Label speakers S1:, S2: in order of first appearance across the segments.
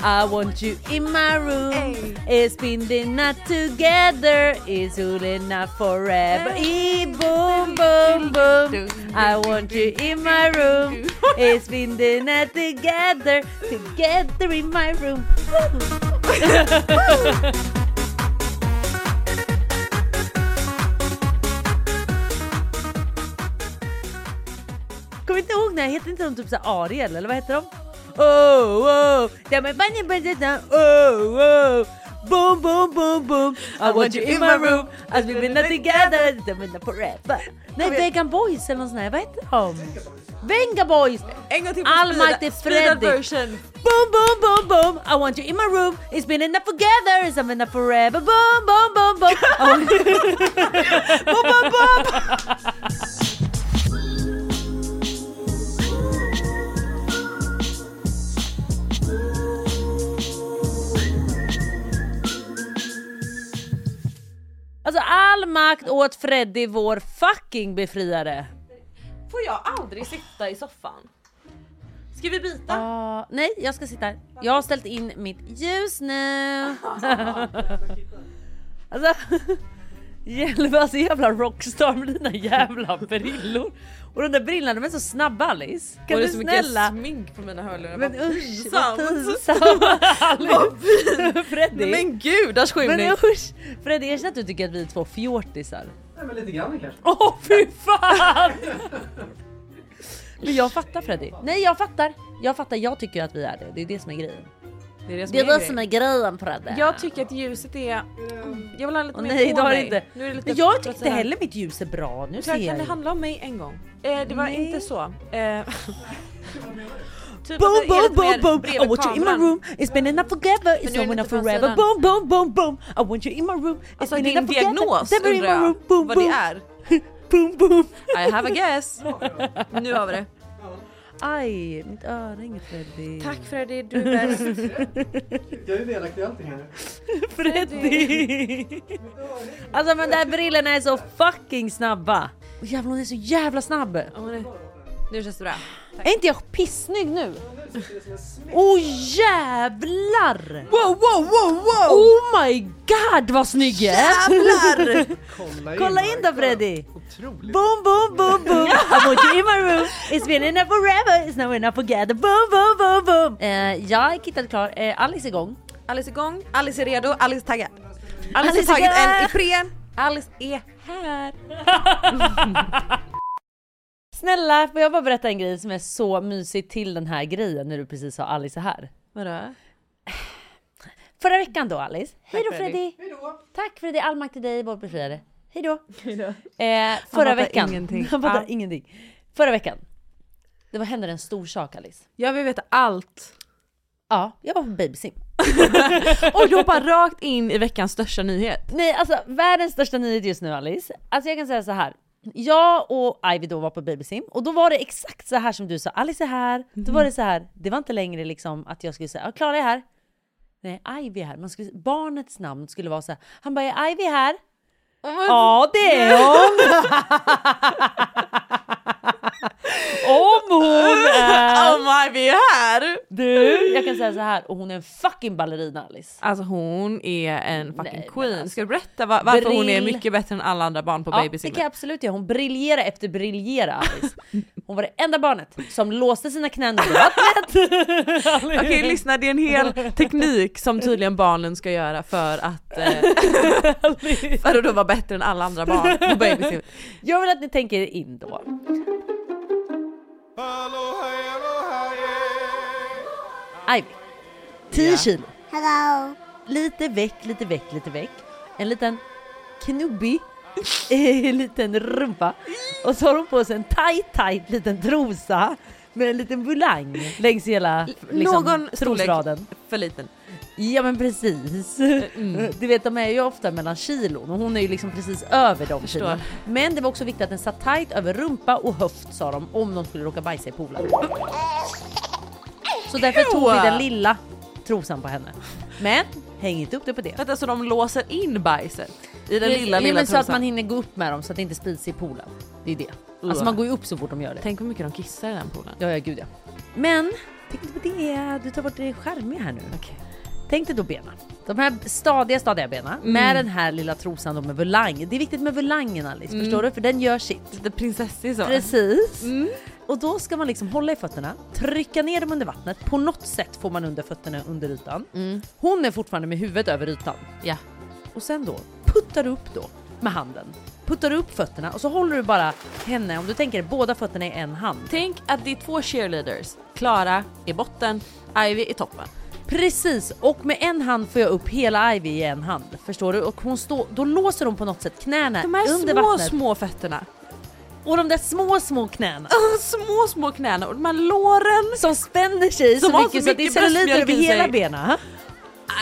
S1: I want you in my room.
S2: Hey.
S1: It's been the night together. It's all enough forever. E boom, boom, boom. I want you in my room. It's been the night together. Together in my room. Kommer inte ihåg, nej, hette inte de typ så här Ariel eller vad hette de? Oh, oh, det med bunny bunny down, oh, oh. Boom, boom, boom, boom. I want you in my room. As we've been together. Det menar forever. Nej, Vegan Boys eller någon sån här. Vad heter de? Venga Boys!
S2: En gång till på
S1: Almighty
S2: speedad- speedad
S1: Freddy.
S2: version.
S1: Boom, boom, boom, boom. I want you in my room. It's been enough together. It's been enough forever. Boom, boom, boom, boom. boom, boom, boom. Alltså all makt åt Freddy, vår fucking befriare.
S2: Får jag aldrig sitta i soffan? Ska vi byta?
S1: Ah, nej, jag ska sitta här. Jag har ställt in mitt ljus nu. alltså, Hjälva, alltså jävla rockstar med dina jävla brillor. Och de där brillorna de är så snabba Alice. Kan
S2: Och det
S1: du
S2: är så mycket
S1: snälla?
S2: smink på mina hörlurar.
S1: Men
S2: Men,
S1: usch vad
S2: pinsamt.
S1: pinsamt! Alice. Freddy!
S2: men gudars
S1: Men
S2: skymning!
S1: usch! Freddy erkänn att du tycker att vi är två fjortisar.
S3: Nej, men lite grann kanske.
S1: Åh oh, fy fan! Men jag fattar Freddy. Nej jag fattar. Jag fattar, jag tycker att vi är det. Det är det som är grejen.
S2: Det är det
S1: Det är det
S2: grejen.
S1: som är grejen Fredde.
S2: Jag tycker att ljuset är... Mm. Jag vill ha lite
S1: Åh,
S2: mer
S1: nej,
S2: på
S1: det har
S2: mig.
S1: inte.
S2: Nu är det lite
S1: Men jag
S2: trots
S1: tyckte
S2: det här.
S1: heller mitt ljus är bra. Nu ser
S2: Tyvärr kan
S1: jag
S2: det
S1: ju.
S2: handla om mig en gång. Eh, det var
S1: Nej.
S2: inte så. Eh, typ att
S1: Boom
S2: jag är
S1: boom
S2: lite
S1: boom
S2: mer
S1: boom!
S2: bredvid
S1: I want you in my
S2: kameran.
S1: room, it's been enough forever,
S2: Men
S1: it's
S2: nu är
S1: been enough
S2: det inte från
S1: forever,
S2: sidan.
S1: boom boom boom boom! I want you in my room, it's
S2: Alltså
S1: been
S2: din
S1: enough forever,
S2: diagnos
S1: it's been in
S2: undrar
S1: my room,
S2: jag
S1: boom,
S2: vad det
S1: boom,
S2: är.
S1: boom boom!
S2: I have a guess. nu har vi det.
S1: Aj, mitt örhänge Freddy.
S2: Tack Freddy, du är bäst.
S3: Jag är delaktig i allting här.
S1: Freddy! alltså men de där brillorna är så fucking snabba! Och jävlar hon är så jävla snabb!
S2: Åh, nej. nu känns det bra.
S1: Är inte jag pissnygg nu? Åh oh, jävlar!
S2: Wow wow wow wow!
S1: Oh my god vad snygg jag är!
S2: Jävlar!
S3: Kolla,
S1: Kolla in då Freddy!
S3: Otroligt.
S1: Boom boom boom boom! I want you in my room! It's been enough forever! It's now enough together! Boom boom boom boom! Eh, jag är kittad klar, eh, Alice är igång.
S2: Alice är igång, Alice är redo, Alice är taggad.
S1: Alice
S2: Alice
S1: är
S2: har tagit en
S1: taggad.
S2: Ipren. Alice är här.
S1: Snälla får jag bara berätta en grej som är så mysig till den här grejen när du precis sa Alice är här.
S2: Vadå?
S1: Förra veckan då Alice. Hej då
S2: Freddy.
S1: Freddy!
S3: Hejdå!
S1: Tack Freddy, all makt till dig vår befriare. Hej då! Eh, förra
S2: fattar
S1: veckan.
S2: ingenting.
S1: Han fattar
S2: Ja.
S1: ingenting. Förra veckan. Det var, hände en stor sak Alice.
S2: Jag vill veta allt.
S1: Ja, jag var på babysim.
S2: Och du hoppar rakt in i veckans största nyhet.
S1: Nej, alltså världens största nyhet just nu Alice. Alltså jag kan säga så här. Jag och Ivy då var på babysim och då var det exakt så här som du sa. Alice är här. Då var det så här. Det var inte längre liksom att jag skulle säga "Ja, Klara är här. Nej, Ivy är här. Man skulle, barnets namn skulle vara så här. Han bara, är Ivy här?
S2: Oh
S1: Ja, det är hon! Om hon är...
S2: Oh my, vi är här!
S1: Du, jag kan säga så här. Och hon är en fucking ballerina Alice.
S2: Alltså hon är en fucking
S1: Nej, men
S2: queen.
S1: alltså.
S2: Ska du berätta va- varför hon är
S1: Brill.
S2: mycket bättre än alla andra barn på
S1: Ja, det
S2: babysimmet?
S1: kan jag absolut göra. Hon briljerar efter briljera Alice. Hon var det enda barnet som låste sina knän under vattnet. Alice.
S2: Okej lyssna, det är en hel teknik som tydligen barnen ska göra för att, eh, för att då vara bättre än alla andra barn på babysimmet.
S1: Jag vill att ni tänker er in då. Ivy, 10
S2: Ja.
S1: kilo. Lite väck, lite väck, lite väck. En liten knubbig eh, liten rumpa. Och så har hon på sig en tight, tight liten trosa med en liten bulang längs hela liksom,
S2: Någon
S1: trosraden.
S2: storlek för liten.
S1: Ja men precis.
S2: Mm.
S1: Du vet de är ju ofta mellan kilon och hon är ju liksom precis över dem.
S2: Förstår.
S1: kilona. Men det var också viktigt att den satt tight över rumpa och höft sa de om de skulle råka bajsa i poolen. Så därför tog vi den lilla trosan på henne. Men häng inte upp det på det.
S2: Vänta så alltså, de låser in bajset i den lilla
S1: Jo,
S2: lilla
S1: men så att
S2: trosan?
S1: man hinner gå upp med dem så att det inte sprids i poolen. Det är det. Alltså
S2: Ugh.
S1: man går ju upp så fort de gör det.
S2: Tänk hur mycket de kissar i den poolen.
S1: Ja, ja gud ja. Men Tänk inte på det, du tar bort det charmiga här nu. Tänk dig då benen. De här stadiga, stadiga benen med den här lilla trosan då med volang. Det är viktigt med volangen Alice, förstår du? För den gör sitt.
S2: Lite prinsessig så.
S1: Precis. Och då ska man liksom hålla i fötterna, trycka ner dem under vattnet. På något sätt får man under fötterna under ytan. Hon är fortfarande med huvudet över ytan.
S2: Ja.
S1: Och sen då puttar du upp då med handen. Puttar du upp fötterna och så håller du bara henne, om du tänker båda fötterna i en hand.
S2: Tänk att det är två cheerleaders. Klara i botten, Ivy i toppen.
S1: Precis, och med en hand får jag upp hela Ivy i en hand. Förstår du? Och hon står, då låser hon på något sätt knäna
S2: De här
S1: under
S2: små,
S1: vattnet.
S2: små fötterna.
S1: Och de där små, små knäna
S2: Ah, små, små knäna och de här låren.
S1: som spänner sig så
S2: Som har så
S1: mycket så att det är
S2: mycket
S1: celluliter
S2: bröstmjölk
S1: över
S2: i sig.
S1: hela benen.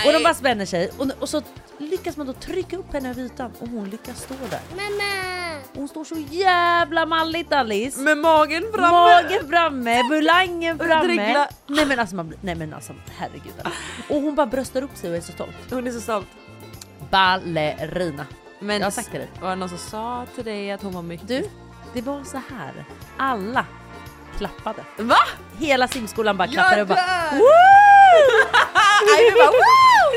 S1: Och de bara spänner sig och, och så lyckas man då trycka upp henne över ytan och hon lyckas stå där.
S4: Mamma!
S1: Och hon står så jävla malligt Alice.
S2: Med magen framme.
S1: Magen framme, bulangen framme.
S2: Dregla.
S1: Nej men alltså, man, blir- nej, men alltså herregud. Alice. Och hon bara bröstar upp sig och är så stolt.
S2: Hon är så stolt.
S1: Ballerina.
S2: Men
S1: Jag har sagt det nu.
S2: Var det någon som sa till dig att hon var mycket...
S1: Du, det var så här. Alla klappade.
S2: Va?
S1: Hela simskolan bara klappade och bara
S2: dör!
S1: Ivy bara wow!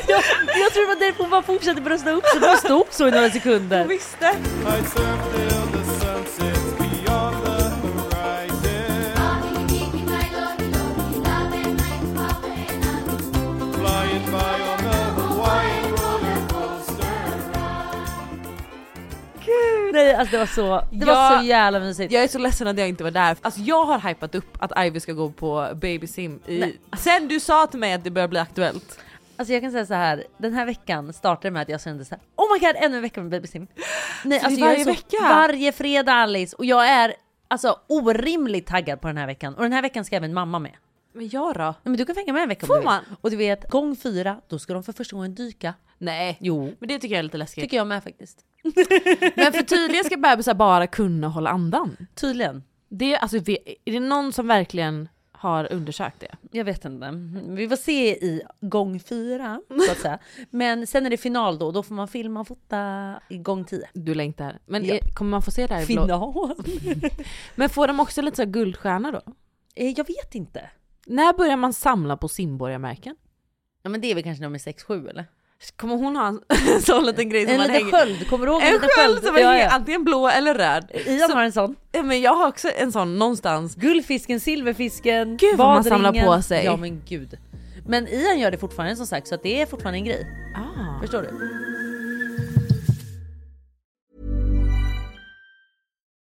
S1: jag, jag tror det var därför hon bara fortsatte brösta upp sig. för Hon stod så i några
S2: Hon
S1: sekunder.
S2: visste.
S5: I till the sunsets beyond the horizon. Flying by on the Hawaiian roller coaster.
S1: Nej alltså det var så, det var
S2: Jag-
S1: så jävla mysigt.
S2: Jag är så ledsen att jag inte var där. Alltså jag har hypat upp att Ivy ska gå på babysim i...
S1: Nej.
S2: Sen du sa till mig att det börjar bli aktuellt.
S1: Alltså jag kan säga så här, den här veckan startade med att jag kände så här, oh my god ännu en vecka med babysim. Nej, alltså,
S2: Så det är
S1: jag är
S2: varje
S1: så,
S2: vecka?
S1: Varje fredag Alice och jag är alltså orimligt taggad på den här veckan och den här veckan ska även mamma med.
S2: Men jag då?
S1: Nej, men du kan fänga med en vecka
S2: Får
S1: om du vill.
S2: man?
S1: Och du vet, gång fyra, då ska de för första gången dyka.
S2: Nej.
S1: Jo,
S2: Men det tycker jag är lite läskigt.
S1: tycker jag med faktiskt.
S2: Men för tydligen ska bebisar bara kunna hålla andan.
S1: Tydligen.
S2: Det är, alltså, vi- är det någon som verkligen har undersökt det?
S1: Jag vet inte. Vi får se i gång fyra, så att säga. Men sen är det final då, då får man filma och fota i gång tio.
S2: Du längtar. Men
S1: Ja.
S2: är, kommer man få se det här i blå?
S1: Final?
S2: Men får de också lite så här guldstjärna då?
S1: Eh, Jag vet inte.
S2: När börjar man samla på simborgarmärken?
S1: Ja men det är väl kanske när de är 6-7 eller?
S2: Kommer hon ha en sån liten grej som
S1: En
S2: man
S1: liten
S2: hänger?
S1: sköld, kommer du ihåg
S2: En sköld som Alltså- är
S1: ja, ja.
S2: antingen blå eller röd.
S1: Ian
S2: Så-
S1: har en sån.
S2: Ja, Men jag har också en sån någonstans.
S1: Guldfisken, silverfisken,
S2: Gud, vad man samlar
S1: badringen.
S2: på sig.
S1: Ja men gud. Men Ian gör det fortfarande som sagt så att det är fortfarande en grej.
S2: Ah.
S1: Förstår du?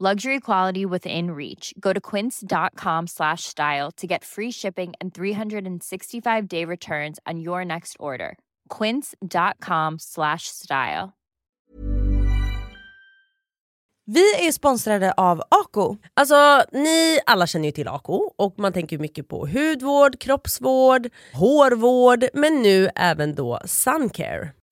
S6: Luxury quality within reach. Go to quince.com slash style to get free shipping and 365 day returns on your next order. Quince.com slash style.
S7: Vi är sponsrade av Ako. Alltså ni alla känner ju till Ako och man tänker ju mycket på hudvård, kroppsvård, hårvård men nu även då suncare.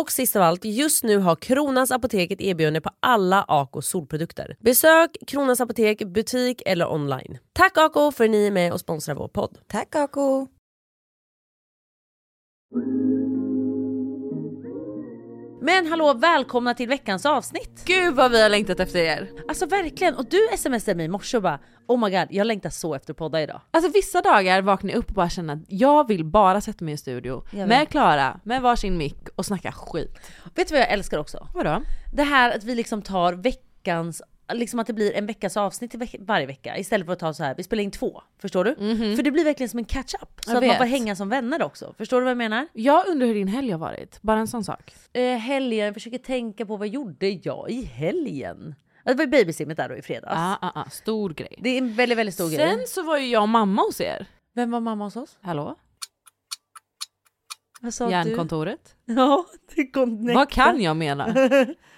S7: Och sist av allt, just nu har Kronans Apotek ett erbjudande på alla Ako solprodukter. Besök Kronans Apotek, butik eller online. Tack Ako för att ni är med och sponsrar vår podd.
S4: Tack Ako!
S1: Men hallå, välkomna till veckans avsnitt!
S2: Gud vad vi har längtat efter er!
S1: Alltså verkligen, och du smsade mig i morse och bara oh my god, jag längtar så efter att podda idag.
S2: Alltså vissa dagar vaknar jag upp och bara känner att jag vill bara sätta mig i studio
S1: Jag
S2: med
S1: vet.
S2: Klara, med varsin mick och snacka skit.
S1: Vet du vad jag älskar också?
S2: Vadå?
S1: Det här att vi liksom tar veckans, liksom att det blir en veckas avsnitt i veck- varje vecka istället för att ta så här, vi spelar in två. Förstår du? För det blir verkligen som en catch-up. Så
S2: Jag
S1: att
S2: vet.
S1: man får hänga som vänner också. Förstår du vad jag menar?
S2: Jag undrar hur din helg har varit, bara en sån sak.
S1: Eh, helgen, jag försöker tänka på vad gjorde jag i helgen? Ja, Det var ju babysimmet där då i fredags.
S2: Ah, ah, ah, stor grej.
S1: Det är en väldigt, väldigt stor grej.
S2: Sen så var ju jag och mamma hos er.
S1: Vem var mamma hos oss?
S2: Hallå?
S1: Vad sa
S2: Järnkontoret.
S1: du? Ja, det kom
S2: Vad kan jag mena?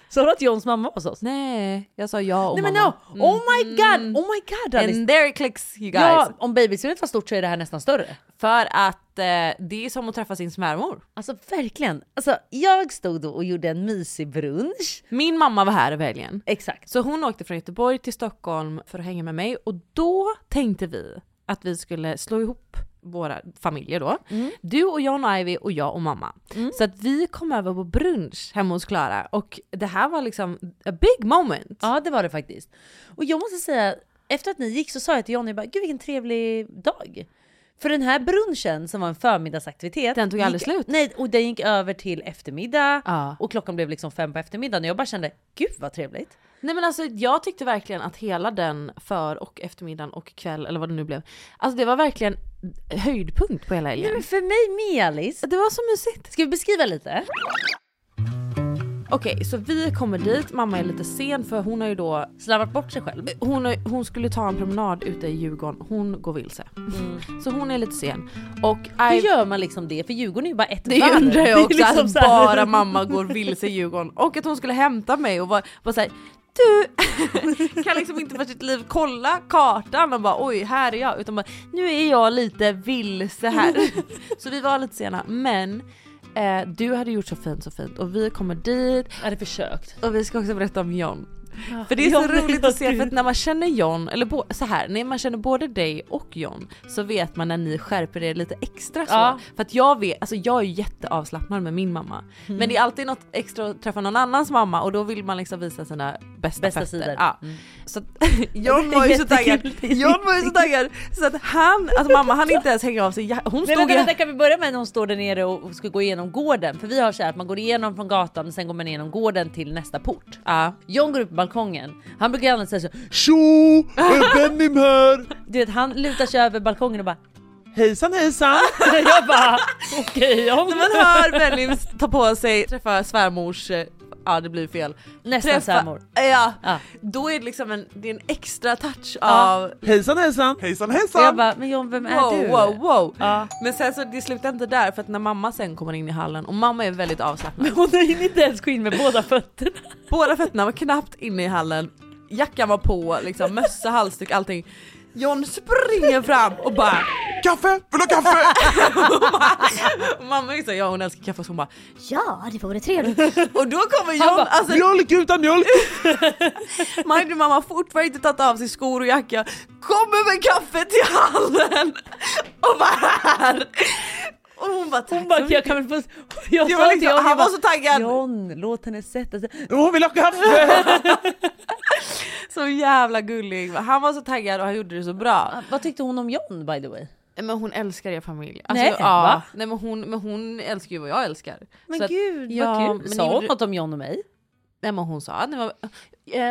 S1: Sa du att Johns mamma var hos oss?
S2: Nej, jag sa ja och
S1: Nej men no!
S2: mamma. Mm.
S1: Oh my god! Oh my god Alice!
S2: And there it clicks you guys.
S1: Ja, om babysimmet var stort så är det här nästan större.
S2: För att eh, det är som att träffa sin svärmor.
S1: Alltså verkligen. Alltså, jag stod då och gjorde en mysig brunch.
S2: Min mamma var här i helgen.
S1: Exakt.
S2: Så hon åkte från Göteborg till Stockholm för att hänga med mig och då tänkte vi att vi skulle slå ihop våra familjer då.
S1: Mm.
S2: Du och John och Ivy och jag och mamma. Så att vi kom över på brunch hemma hos Klara och det här var liksom a big moment.
S1: Ja det var det faktiskt. Och jag måste säga, efter att ni gick så sa jag till Johnny bara, gud vilken trevlig dag. För den här brunchen som var en förmiddagsaktivitet.
S2: Den tog aldrig
S1: gick,
S2: slut.
S1: Nej, och den gick över till eftermiddag.
S2: Ja.
S1: Och klockan blev liksom fem på eftermiddagen och jag bara kände, gud vad trevligt.
S2: Nej men alltså jag tyckte verkligen att hela den för och eftermiddagen och kväll eller vad det nu blev. Alltså det var verkligen höjdpunkt på hela
S1: Nej, men
S2: helgen.
S1: för mig med Alice.
S2: Det var så mysigt.
S1: Ska vi beskriva lite?
S2: Okej så vi kommer dit, mamma är lite sen för hon har ju då
S1: Slarvat bort sig själv.
S2: hon, hon skulle ta en promenad ute i Djurgården, hon går vilse. Så hon är lite sen. Och
S1: Hur
S2: I,
S1: gör man liksom Mm. det? För Djurgården är ju bara ett
S2: det
S1: varv.
S2: undrar
S1: Det
S2: jag
S1: är
S2: också,
S1: liksom
S2: att
S1: så här-
S2: bara mamma går vilse i Djurgården. Och att hon skulle hämta mig och vara var såhär du kan liksom inte för sitt liv kolla kartan och bara oj här är jag utan bara nu är jag lite vilse här. så vi var lite sena men eh, du hade gjort så fint så fint och vi kommer dit
S1: Jag hade försökt.
S2: och vi ska också berätta om John. För det är så
S1: Ja, men
S2: roligt att se
S1: gud.
S2: för att när man känner John, eller bo, så här, när man känner både dig och John så vet man när ni skärper er lite extra så.
S1: Ja.
S2: För att jag vet, alltså jag är ju jätteavslappnad med min mamma.
S1: Mm.
S2: Men det är alltid något extra att träffa någon annans mamma och då vill man liksom visa sina bästa,
S1: Bästa
S2: fötter.
S1: sidor.
S2: Ja.
S1: Mm.
S2: Så att, John var ju så taggad. John var ju så taggad så att han, alltså mamma han inte ens hänga av sig. Ja, Hon
S1: Nej,
S2: stod
S1: vänta,
S2: ju
S1: vänta, kan vi börja med när hon står där nere och ska gå igenom gården? För vi har så här att man går igenom från gatan och sen går man igenom gården till nästa port.
S2: Ja.
S1: John går upp på balkongen. Han brukar gärna säga så.
S5: Tjo! Är Bennim här?
S1: Du vet, han lutar sig över balkongen och bara.
S5: Hejsan hejsan!
S1: Jag bara okej John.
S2: När man hör Benjamin ta på sig träffa svärmors eh, ja det blir fel.
S1: Nästan
S2: samma
S1: samor.
S2: Ja, då är det liksom en, det är en extra touch av
S8: Hejsan hejsan! Hejsan
S1: Och jag bara, men John vem är
S2: wow,
S1: du?
S2: Wow, wow. Men sen så det slutar inte där för att när mamma sen kommer in i hallen och mamma är väldigt avslappnad.
S1: Hon hinner inte ens gå in med båda fötterna.
S2: Båda fötterna var knappt inne i hallen, jackan var på, liksom, mössa, halsduk, allting. John springer fram och bara Kaffe? Vill du ha kaffe? mamma är så, ja hon älskar kaffe så hon bara Ja det vore trevligt. Och då kommer John, alltså
S8: Mjölk utan mjölk!
S2: Mind you, mamma har fortfarande inte tagit av sig skor och jacka, kommer med kaffe till hallen och bara här. Och hon bara tack
S1: bara, jag kan väl få... Jag
S2: Det
S1: sa
S2: var
S1: till
S2: liksom,
S1: John,
S2: han
S1: jag
S2: var
S1: bara,
S2: så taggad.
S1: John, låt henne sätta sig.
S8: Hon vill ha kaffe!
S2: Så jävla gullig. Han var så taggad och han gjorde det så bra.
S1: Ah, Vad tyckte hon om John by the way?
S2: Men hon älskar er familj. Alltså,
S1: Nej, va?
S2: nej men hon, men hon älskar ju vad jag älskar.
S1: Men
S2: Så att-
S1: gud
S2: ja,
S1: vad kul.
S2: men
S1: Sa hon
S2: gjorde-
S1: något om John och mig?
S2: Nej men hon sa, nej, men,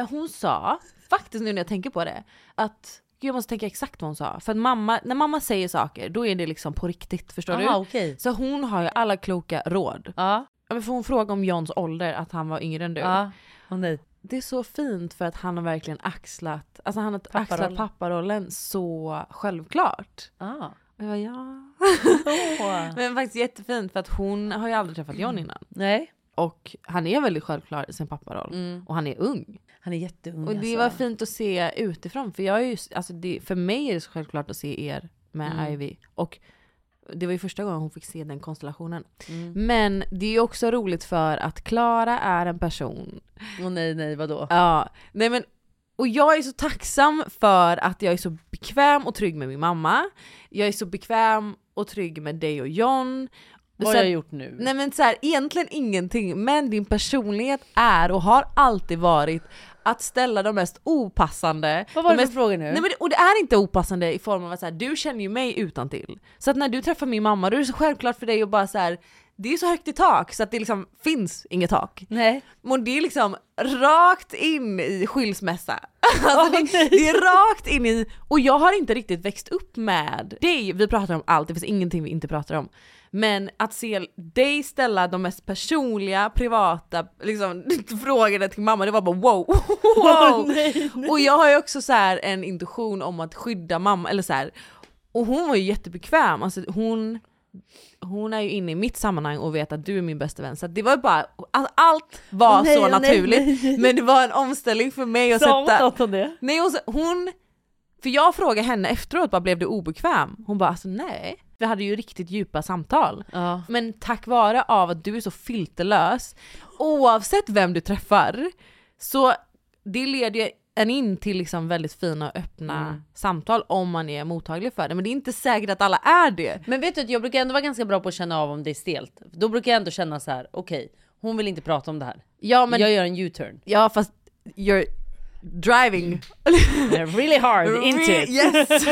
S2: eh, hon sa faktiskt nu när jag tänker på det att Gud, jag måste tänka exakt vad hon sa. För att mamma, när mamma säger saker då är det liksom på riktigt förstår du?
S1: Ah, okej.
S2: Så hon har ju alla kloka råd. Ja, men för hon frågade om Johns ålder, att han var yngre än du.
S1: Ja. nej.
S2: Det är så fint för att han har verkligen axlat, alltså han har axlat
S1: Papparollen.
S2: papparollen så självklart.
S1: Ah.
S2: Jag bara, ja. Men faktiskt jättefint för att hon har ju aldrig träffat
S1: Mm.
S2: John innan.
S1: Nej.
S2: Och han är väldigt självklar i sin papparoll. Och han är ung.
S1: Han är jätteung
S2: Och det
S1: Mm. alltså.
S2: var fint att se utifrån. För, jag är ju, alltså det, för mig är det så självklart att se er med
S1: Mm.
S2: Ivy. Och det var ju första gången hon fick se den konstellationen.
S1: Mm.
S2: Men det är ju också roligt för att Klara är en person.
S1: Åh nej nej vadå?
S2: Ja, nej men, och jag är så tacksam för att jag är så bekväm och trygg med min mamma. Jag är så bekväm och trygg med dig och John.
S1: Vad har
S2: Så
S1: jag
S2: att-
S1: gjort nu?
S2: Nej men så här, egentligen ingenting, men din personlighet är och har alltid varit att ställa de mest opassande...
S1: Vad var
S2: de
S1: det för
S2: mest,
S1: fråga nu?
S2: Nej, men, det- och det är inte opassande i form av att så här, du känner ju mig utan till. Så att när du träffar min mamma då är det så självklart för dig att bara så här. det är så högt i tak så att det liksom finns inget tak.
S1: Nej.
S2: Men det är liksom rakt in i skilsmässa. Alltså det, det är rakt in i, och jag har inte riktigt växt upp med dig, vi pratar om allt, det finns ingenting vi inte pratar om. Men att se dig ställa de mest personliga, privata liksom, frågorna till mamma, det var bara wow! wow. Och jag har ju också så här en intuition om att skydda mamma, eller så här. Och hon var ju jättebekväm, alltså hon, hon är ju inne i mitt sammanhang och vet att du är min bästa vän. Så att det var ju bara, alltså allt var
S1: Åh, nej,
S2: så
S1: åh, nej,
S2: naturligt.
S1: nej.
S2: Men det var en omställning för mig att
S1: Sa hon
S2: sätta...
S1: något om det?
S2: Nej hon, sa- hon... För jag frågade henne efteråt, bara, blev du obekväm? Hon bara alltså nej. Vi hade ju riktigt djupa samtal. Men tack vare av att du är så filterlös, oavsett vem du träffar, så det leder ju en in till liksom väldigt fina och öppna
S1: Mm.
S2: samtal om man är mottaglig för det. Men det är inte säkert att alla är det.
S1: Men vet du att jag brukar ändå vara ganska bra på att känna av om det är stelt. Då brukar jag ändå känna så här: okej hon vill inte prata om det här.
S2: Ja, men-
S1: Jag gör en U-turn.
S2: Ja fast you're driving
S1: really hard into it.
S2: Yes.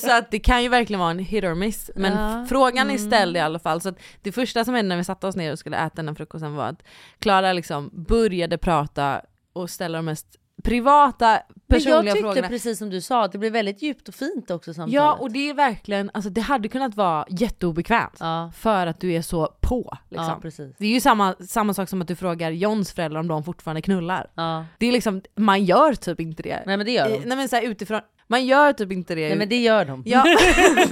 S2: Så att det kan ju verkligen vara en hit or miss. Men
S1: Ja.
S2: f- frågan är
S1: Mm.
S2: ställd i alla fall. Så att det första som hände när vi satte oss ner och skulle äta den här frukosten var att Klara liksom började prata och ställa de mest privata
S1: Men jag
S2: personliga
S1: tyckte
S2: frågorna.
S1: precis som du sa att det blev väldigt djupt och fint också samtalet.
S2: Ja och det är verkligen, alltså det hade kunnat vara jätteobekvämt för att du är så på. Liksom.
S1: Ja, precis.
S2: Det är ju samma, samma sak som att du frågar Johns föräldrar om de fortfarande knullar.
S1: Ja.
S2: Det är liksom, man gör typ inte det.
S1: Nej men det gör de.
S2: Eh, Nej men så här, utifrån, man gör typ inte det.
S1: Nej men det gör de.
S2: Ja.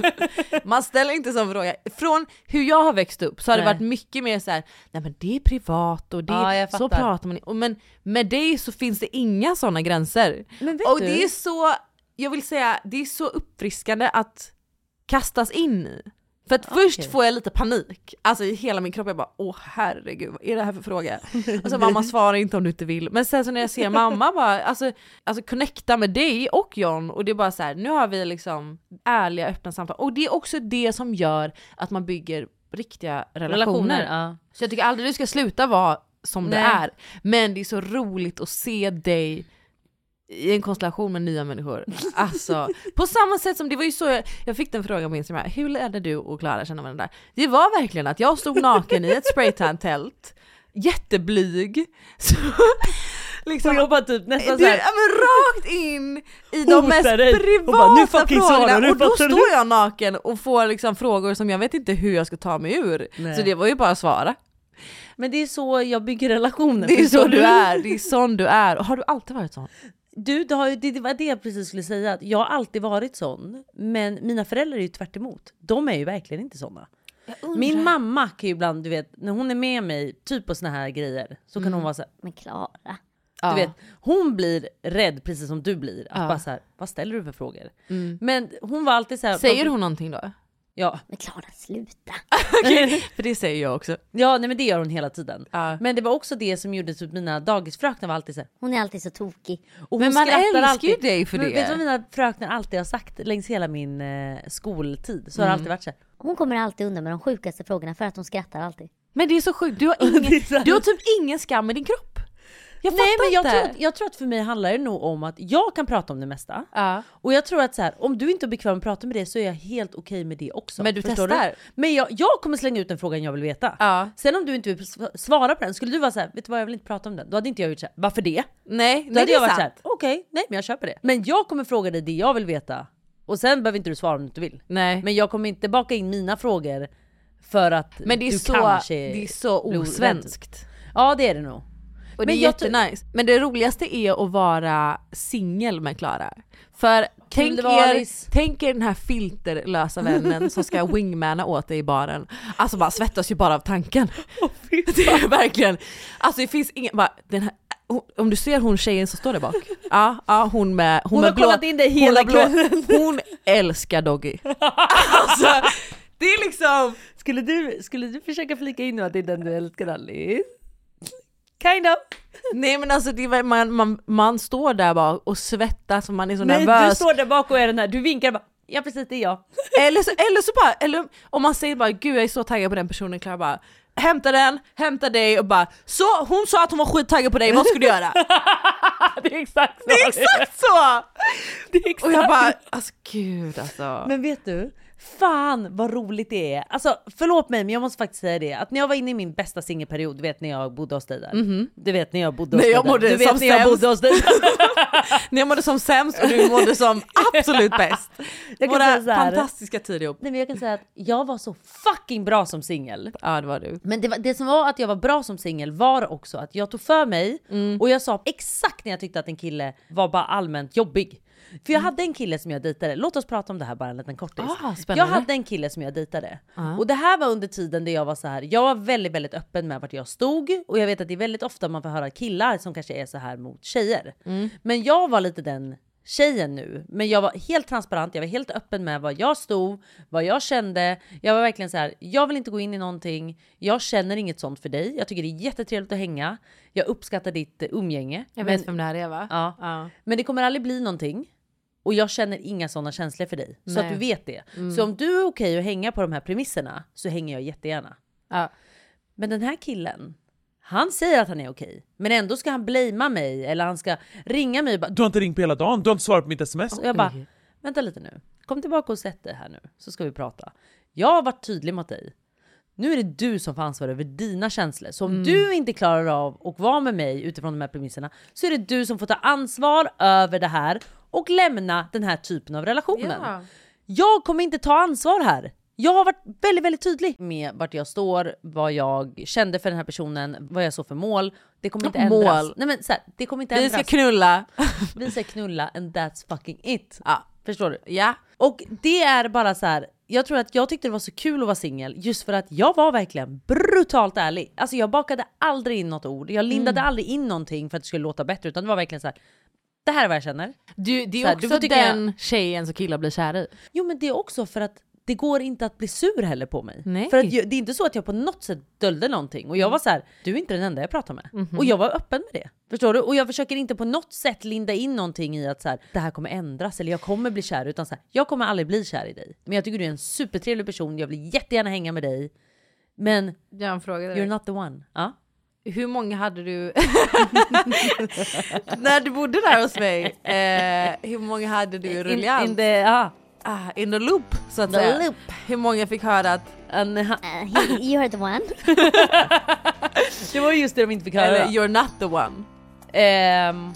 S2: man ställer inte sån fråga. Från hur jag har växt upp så har det
S1: Nej.
S2: varit mycket mer så här, nej men det är privat och det,
S1: Ja, jag
S2: så
S1: fattar.
S2: pratar man. i- Och men med dig så finns det inga sådana gränser.
S1: Men vet
S2: och
S1: du?
S2: det är så, jag vill säga, det är så uppfriskande att kastas in i. För att först får jag lite panik, alltså i hela min kropp, jag bara åh herregud vad är det här för fråga? Och så mamma svarar inte om du inte vill, men sen så när jag ser mamma bara, alltså, alltså connecta med dig och John och det är bara så här, nu har vi liksom ärliga öppna samtal och det är också det som gör att man bygger riktiga relationer.
S1: Relationer, ja.
S2: Så jag tycker aldrig du ska sluta vara som du
S1: Nej.
S2: är, men det är så roligt att se dig i en konstellation med nya människor. Alltså, på samma sätt som det var ju så jag, jag fick den frågan på Instagram, hur lärde du och Klara känna varandra? Det var verkligen att jag stod naken i ett spraytan-tält, jätteblyg. Så, liksom,
S1: Och jag bara typ nästan
S2: du,
S1: så här-
S2: ja, men rakt in i de
S1: Hotar
S2: mest
S1: dig.
S2: privata
S1: Och bara, "Nu fucking svarar
S2: frågorna
S1: du,
S2: och då
S1: fattar du?"
S2: står jag naken och får liksom frågor som jag vet inte hur jag ska ta mig ur.
S1: Nej.
S2: Så det var ju bara att svara.
S1: Men det är så jag bygger relationer.
S2: Det är
S1: förstår
S2: så du är, det är sån du är. Och Har du alltid varit sån?
S1: Du, det, har, ju- det, det var det jag precis skulle säga. Att jag har alltid varit sån. Men mina föräldrar är ju tvärt emot. De är ju verkligen inte såna.
S6: undrar.
S1: Min mamma kan ju ibland, du vet, när hon är med mig, typ på såna här grejer, så kan
S6: Mm.
S1: hon vara så här, men Klara. Du
S6: Ja.
S1: vet, hon blir rädd precis som du blir. Att
S2: Ja.
S1: bara så här, vad ställer du för frågor?
S2: Mm.
S1: Men hon var alltid så här.
S2: Säger hon någonting då?
S1: Ja. Men Klara, sluta.
S2: För det säger jag också.
S1: Ja, nej men det gör hon hela tiden. Men det var också det som gjorde typ mina dagisfröknar var alltid så här, hon är alltid så tokig. Och
S2: Men
S1: hon
S2: man
S1: skrattar
S2: älskar ju
S1: alltid.
S2: dig för
S1: men
S2: det.
S1: Vet du vad mina fröknar alltid har sagt längs hela min eh, skoltid? Så har
S9: Mm.
S1: det alltid varit så här.
S9: Hon kommer alltid undan med de sjukaste frågorna för att hon skrattar alltid.
S2: Men det är så sjukt, du har, ingen, du har typ ingen skam i din kropp. Jag
S1: Nej
S2: fattar
S1: men jag
S2: inte.
S1: tror, att, jag tror att för mig handlar det nog om att jag kan prata om det mesta. Och jag tror att så här, om du inte är bekväm att prata med det så är jag helt okej med det också.
S2: Men du
S1: Förstår
S2: testar.
S1: Men jag, jag kommer slänga ut den frågan jag vill veta. Sen om du inte vill sv- svara på den, skulle du vara så här, vet du vad jag vill inte prata om den. Då hade inte jag gjort så här, varför det?
S2: Nej,
S1: Då
S2: nej
S1: hade
S2: det är
S1: jag varit
S2: sant.
S1: så här, okej, nej men jag köper det. Men jag kommer fråga dig det jag vill veta. Och sen behöver inte du svara om du inte vill.
S2: Nej.
S1: Men jag kommer inte baka in mina frågor för att
S2: Men det är
S1: du
S2: så-
S1: kanske...
S2: det är så
S1: blir
S2: osvenskt.
S1: Ja det är det nog.
S2: Och
S1: Men
S2: det är
S1: jag tror-
S2: jättenice. Men det roligaste är att vara singel med Klara. För tänk
S1: det var,
S2: er,
S1: Alice.
S2: tänk er den här filterlösa vännen som ska wingmana åt dig i baren. Alltså man svettas ju bara av tanken. det är verkligen, alltså det finns ingen, bara, den här, om du ser hon tjejen som står där bak, ja, ja hon med, hon
S1: Hon
S2: med
S1: har kollat in dig hela
S2: hon, har
S1: kvällen.
S2: hon älskar Doggy. alltså, det är liksom...
S1: Skulle du, skulle du försöka flika in nu att det är den du älskar Alice? Kind of.
S2: Nej men alltså det var, man, man, man står där bara och svettas och man är så
S1: Nej,
S2: nervös.
S1: du står där bak och är den här, du vinkar bara ja precis det är jag.
S2: Eller så, eller så bara, eller om man säger bara gud jag är så taggad på den personen, Klara bara hämta den, hämta dig och bara så hon sa att hon var skittaggad på dig, vad ska du göra?
S1: det är exakt så!
S2: Det är exakt så!
S1: exakt.
S2: Och jag bara alltså gud alltså.
S1: Men vet du? Fan vad roligt det är! Alltså förlåt mig men jag måste faktiskt säga det att när jag var inne i min bästa singelperiod, du vet när jag bodde hos dig där.
S2: Mhm.
S1: Du vet när jag bodde hos
S2: Nej,
S1: dig
S2: jag
S1: där.
S2: mådde
S1: Du vet
S2: som
S1: när jag
S2: sämst.
S1: bodde hos dig.
S2: När jag mådde som sämst och du mådde som absolut bäst.
S1: Jag kan
S2: Våra
S1: säga så här.
S2: fantastiska tider ihop.
S1: Nej, men jag kan säga att jag var så fucking bra som singel.
S2: Ja det var du.
S1: Men det, var, det som var att jag var bra som singel var också att jag tog för mig
S2: Mm.
S1: och jag sa exakt när jag tyckte att en kille var bara allmänt jobbig. För jag hade en kille som jag dejtade, låt oss prata om det här bara en liten kortis.
S2: Mm. Ah,
S1: jag
S2: spännande.
S1: hade en kille som jag dejtade.
S2: Ja.
S1: Och det här var under tiden där jag var så här. jag var väldigt, väldigt öppen med vart jag stod. Och jag vet att det är väldigt ofta man får höra killar som kanske är så här mot tjejer.
S2: Mm.
S1: Men jag var lite den tjejen nu. Men jag var helt transparent, jag var helt öppen med vad jag stod, vad jag kände. Jag var verkligen så här, jag vill inte gå in i någonting. Jag känner inget sånt för dig. Jag tycker det är jättetrevligt att hänga. Jag uppskattar ditt eh, umgänge.
S2: Jag vet
S1: Men-
S2: vem det här är va?
S1: Ja. Men det kommer aldrig bli någonting. Och jag känner inga sådana känslor för dig. Så
S2: Nej.
S1: att du vet det.
S2: Mm.
S1: Så om du är okej att hänga på de här premisserna så hänger jag jättegärna. Men den här killen, han säger att han är okej. Men ändå ska han blamea mig eller han ska ringa mig och bara,
S8: Du har inte ringt på hela dagen, du har inte svarat på mitt sms.
S1: och jag bara, vänta lite nu. Kom tillbaka och sätt dig här nu så ska vi prata. Jag har varit tydlig mot dig. Nu är det du som får ansvar över dina känslor. Så om
S2: Mm.
S1: du inte klarar av att vara med mig utifrån de här premisserna så är det du som får ta ansvar över det här och lämna den här typen av relationen.
S2: Ja.
S1: Jag kommer inte ta ansvar här. Jag har varit väldigt, väldigt tydlig med vart jag står, vad jag kände för den här personen, vad jag såg för mål. Det kommer inte
S2: Mål.
S1: ändras. Nej, men, så här, det kommer inte
S2: Vi
S1: ändras.
S2: ska knulla.
S1: Vi ska knulla and that's fucking it. Förstår du?
S2: Ja.
S1: Och det är bara så här. Jag tror att jag tyckte det var så kul att vara singel just för att jag var verkligen brutalt ärlig. Alltså jag bakade aldrig in något ord. Jag lindade
S2: Mm.
S1: aldrig in någonting för att det skulle låta bättre utan det var verkligen så här. Det här är vad jag känner.
S2: Du, det
S1: Så
S2: är
S1: här,
S2: också
S1: får tycka-
S2: den tjejen som killar blir kär i.
S1: Jo men det är också för att det går inte att bli sur heller på mig.
S2: Nej. Mm.
S1: För att jag, det är inte så att jag på något sätt döljde någonting. Och jag var så här, du är inte den enda jag pratar med.
S2: Mhm.
S1: Och jag var öppen med det. Förstår du? Och jag försöker inte på något sätt linda in någonting i att så här, det här kommer ändras eller jag kommer bli kär. Utan så här, jag kommer aldrig bli kär i dig. Men jag tycker du är en supertrevlig person, jag vill jättegärna hänga med dig. Men
S2: Jag har en fråga till
S1: you're
S2: dig.
S1: not the one. Ja.
S2: Hur många hade du när du bodde där hos mig? Eh, hur många hade du i ruljans?
S1: in the- ah.
S2: in the loop så att
S1: The
S2: säga.
S1: loop.
S2: Hur många fick höra att
S9: you're the one?
S1: Det var just det de inte fick höra.
S2: Eller you're not Ehm, the one.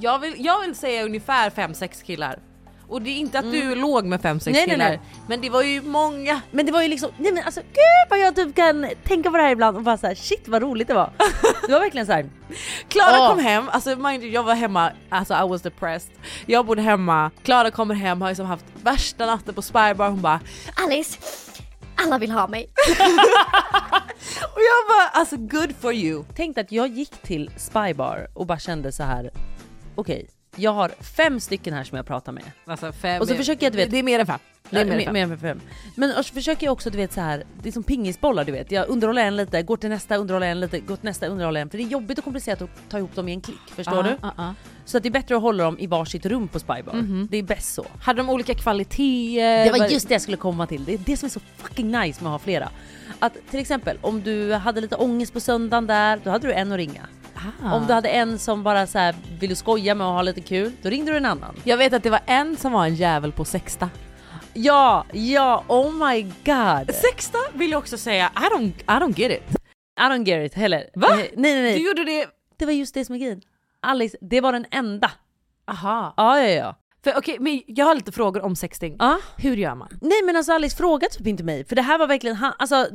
S2: jag, vill, jag vill säga ungefär 5-6 killar. Och det är inte att du
S1: Mm.
S2: låg med fem sex
S1: Nej, nej,
S2: killar.
S1: nej.
S2: Men det var ju många.
S1: Men det var ju liksom, nej men alltså gud vad jag typ kan tänka på det här ibland och bara såhär shit vad roligt det var. Det var verkligen såhär.
S2: Klara
S1: Åh.
S2: kom hem, alltså mind you, jag var hemma, alltså I was depressed. Jag bodde hemma, Klara kommer hem, har liksom haft värsta natten på Spy Bar, hon bara
S10: Alice, alla vill ha mig.
S2: Och jag bara alltså good for you.
S1: Tänk att jag gick till Spybar och bara kände så här. okej jag har fem stycken här som jag pratar med.
S2: Alltså fem
S1: Och så
S2: är-
S1: försöker jag du vet.
S2: Det är mer än fem. Det är
S1: Ja,
S2: mer än
S1: mer-
S2: fem.
S1: mer än fem. Men och så försöker jag också du vet så här, det är som pingisbollar du vet. Jag underhåller en lite, går till nästa, underhåller en lite, går till nästa, underhåller en. För det är jobbigt och komplicerat att ta ihop dem i en klick, förstår
S2: Ja,
S1: du?
S2: ja, ja.
S1: Så att det är bättre att hålla dem i varsitt rum på Spybar.
S2: Mhm.
S1: Det är bäst så.
S2: Hade de olika kvaliteter?
S1: Det var just det jag skulle komma till. Det är det som är så fucking nice med att ha flera. Att till exempel om du hade lite ångest på söndagen där, då hade du en att ringa. Om du hade en som bara så här ville skoja med och ha lite kul, då ringde du en annan.
S2: Jag vet att det var en som var en jävel på sexta.
S1: Ja, ja, oh my god.
S2: Sexta vill jag också säga, I don't, I don't get it.
S1: I don't get it heller.
S2: Va?
S1: Eh, Nej, nej, nej.
S2: Du gjorde det?
S1: Det var just det som är grejen. Alice, det var den enda.
S2: Aha.
S1: Ja, ja, ja.
S2: För okej, men jag har lite frågor om sexting. Hur gör man?
S1: Nej men alltså Alice frågade typ inte mig, för det här var verkligen han, alltså.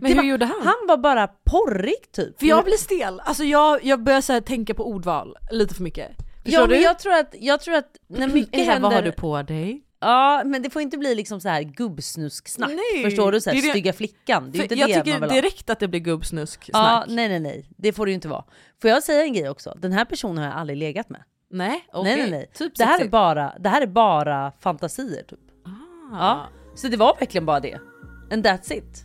S1: Men
S2: hur
S1: var,
S2: gjorde han?
S1: Han var bara porrig typ.
S2: För jag blir stel, alltså jag, jag börjar så här tänka på ordval lite för mycket. Förstår
S1: Ja,
S2: du?
S1: men jag tror att, jag tror att när mycket
S2: Eva,
S1: händer...
S2: Mm, vad har du på dig?
S1: Ja, men det får inte bli liksom så här gubbsnusksnack.
S2: Nej.
S1: Förstår du? Så här,
S2: Det är det-
S1: stygga flickan. Det är
S2: För
S1: inte
S2: jag
S1: det man
S2: tycker
S1: vill ha.
S2: direkt att det blir gubbsnusk
S1: Ja, nej nej nej, det får det ju inte vara. Får jag säga en grej också? Den här personen har jag aldrig legat med.
S2: Nej,
S1: Nej nej
S2: okej.
S1: nej.
S2: Typ
S1: det, här är
S2: sexigt.
S1: bara, det här är bara fantasier typ.
S2: Ah.
S1: Ja, så det var verkligen bara det. And that's it.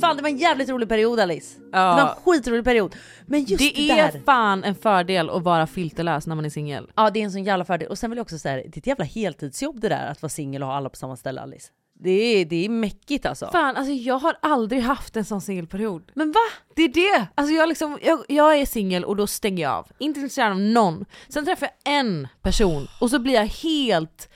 S1: Fan det var en jävligt rolig period Alice.
S2: Ja.
S1: Det var en skitrolig period. Men just det,
S2: det är
S1: där.
S2: fan en fördel att vara filterlös när man är singel.
S1: Ja det är en sån jävla fördel. Och sen vill jag också säga det är ett jävla heltidsjobb det där att vara singel och ha alla på samma ställe Alice. Det är, det är mäckigt alltså.
S2: Fan alltså jag har aldrig haft en sån singelperiod.
S1: Men va?
S2: Det är det! Alltså jag, liksom, jag, jag är singel och då stänger jag av. Inte intresserad av någon. Sen träffar jag en person och så blir jag helt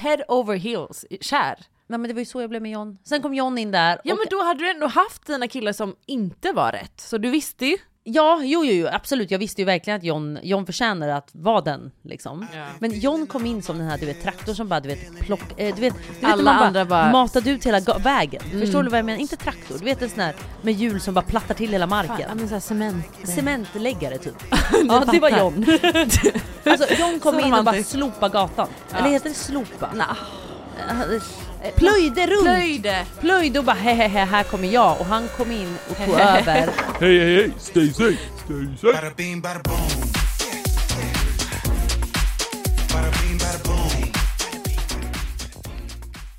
S2: head over heels kär.
S1: Nej men det var ju så jag blev med John. Sen kom John in där.
S2: Ja men då hade du ändå haft dina killar som inte var rätt, så du visste ju.
S1: Ja, jo, jo, jo, absolut. Jag visste ju verkligen att John, John förtjänar att vara den. Liksom. Men John kom in som den här du vet, traktorn som bara du vet, plock, eh, du vet, du vet när
S2: Alla
S1: man bara,
S2: andra bara-
S1: matade ut hela ga- vägen.
S2: Mm.
S1: Förstår du vad jag menar? Inte traktor, du vet en sån här med hjul som bara plattar till hela marken.
S2: Fan, ja, men så här cement.
S1: Cementläggare typ. ja det var
S2: fattar.
S1: John. alltså John kom
S2: Så
S1: in och bara
S2: romantiskt.
S1: slopa gatan.
S2: Ja.
S1: Eller heter det slopa? Eh, Plöjde runt!
S2: Plöjde.
S1: Plöjde och bara hehehe här kommer jag och han kom in och tog över.
S8: Hej hej hej, stay safe, stay safe.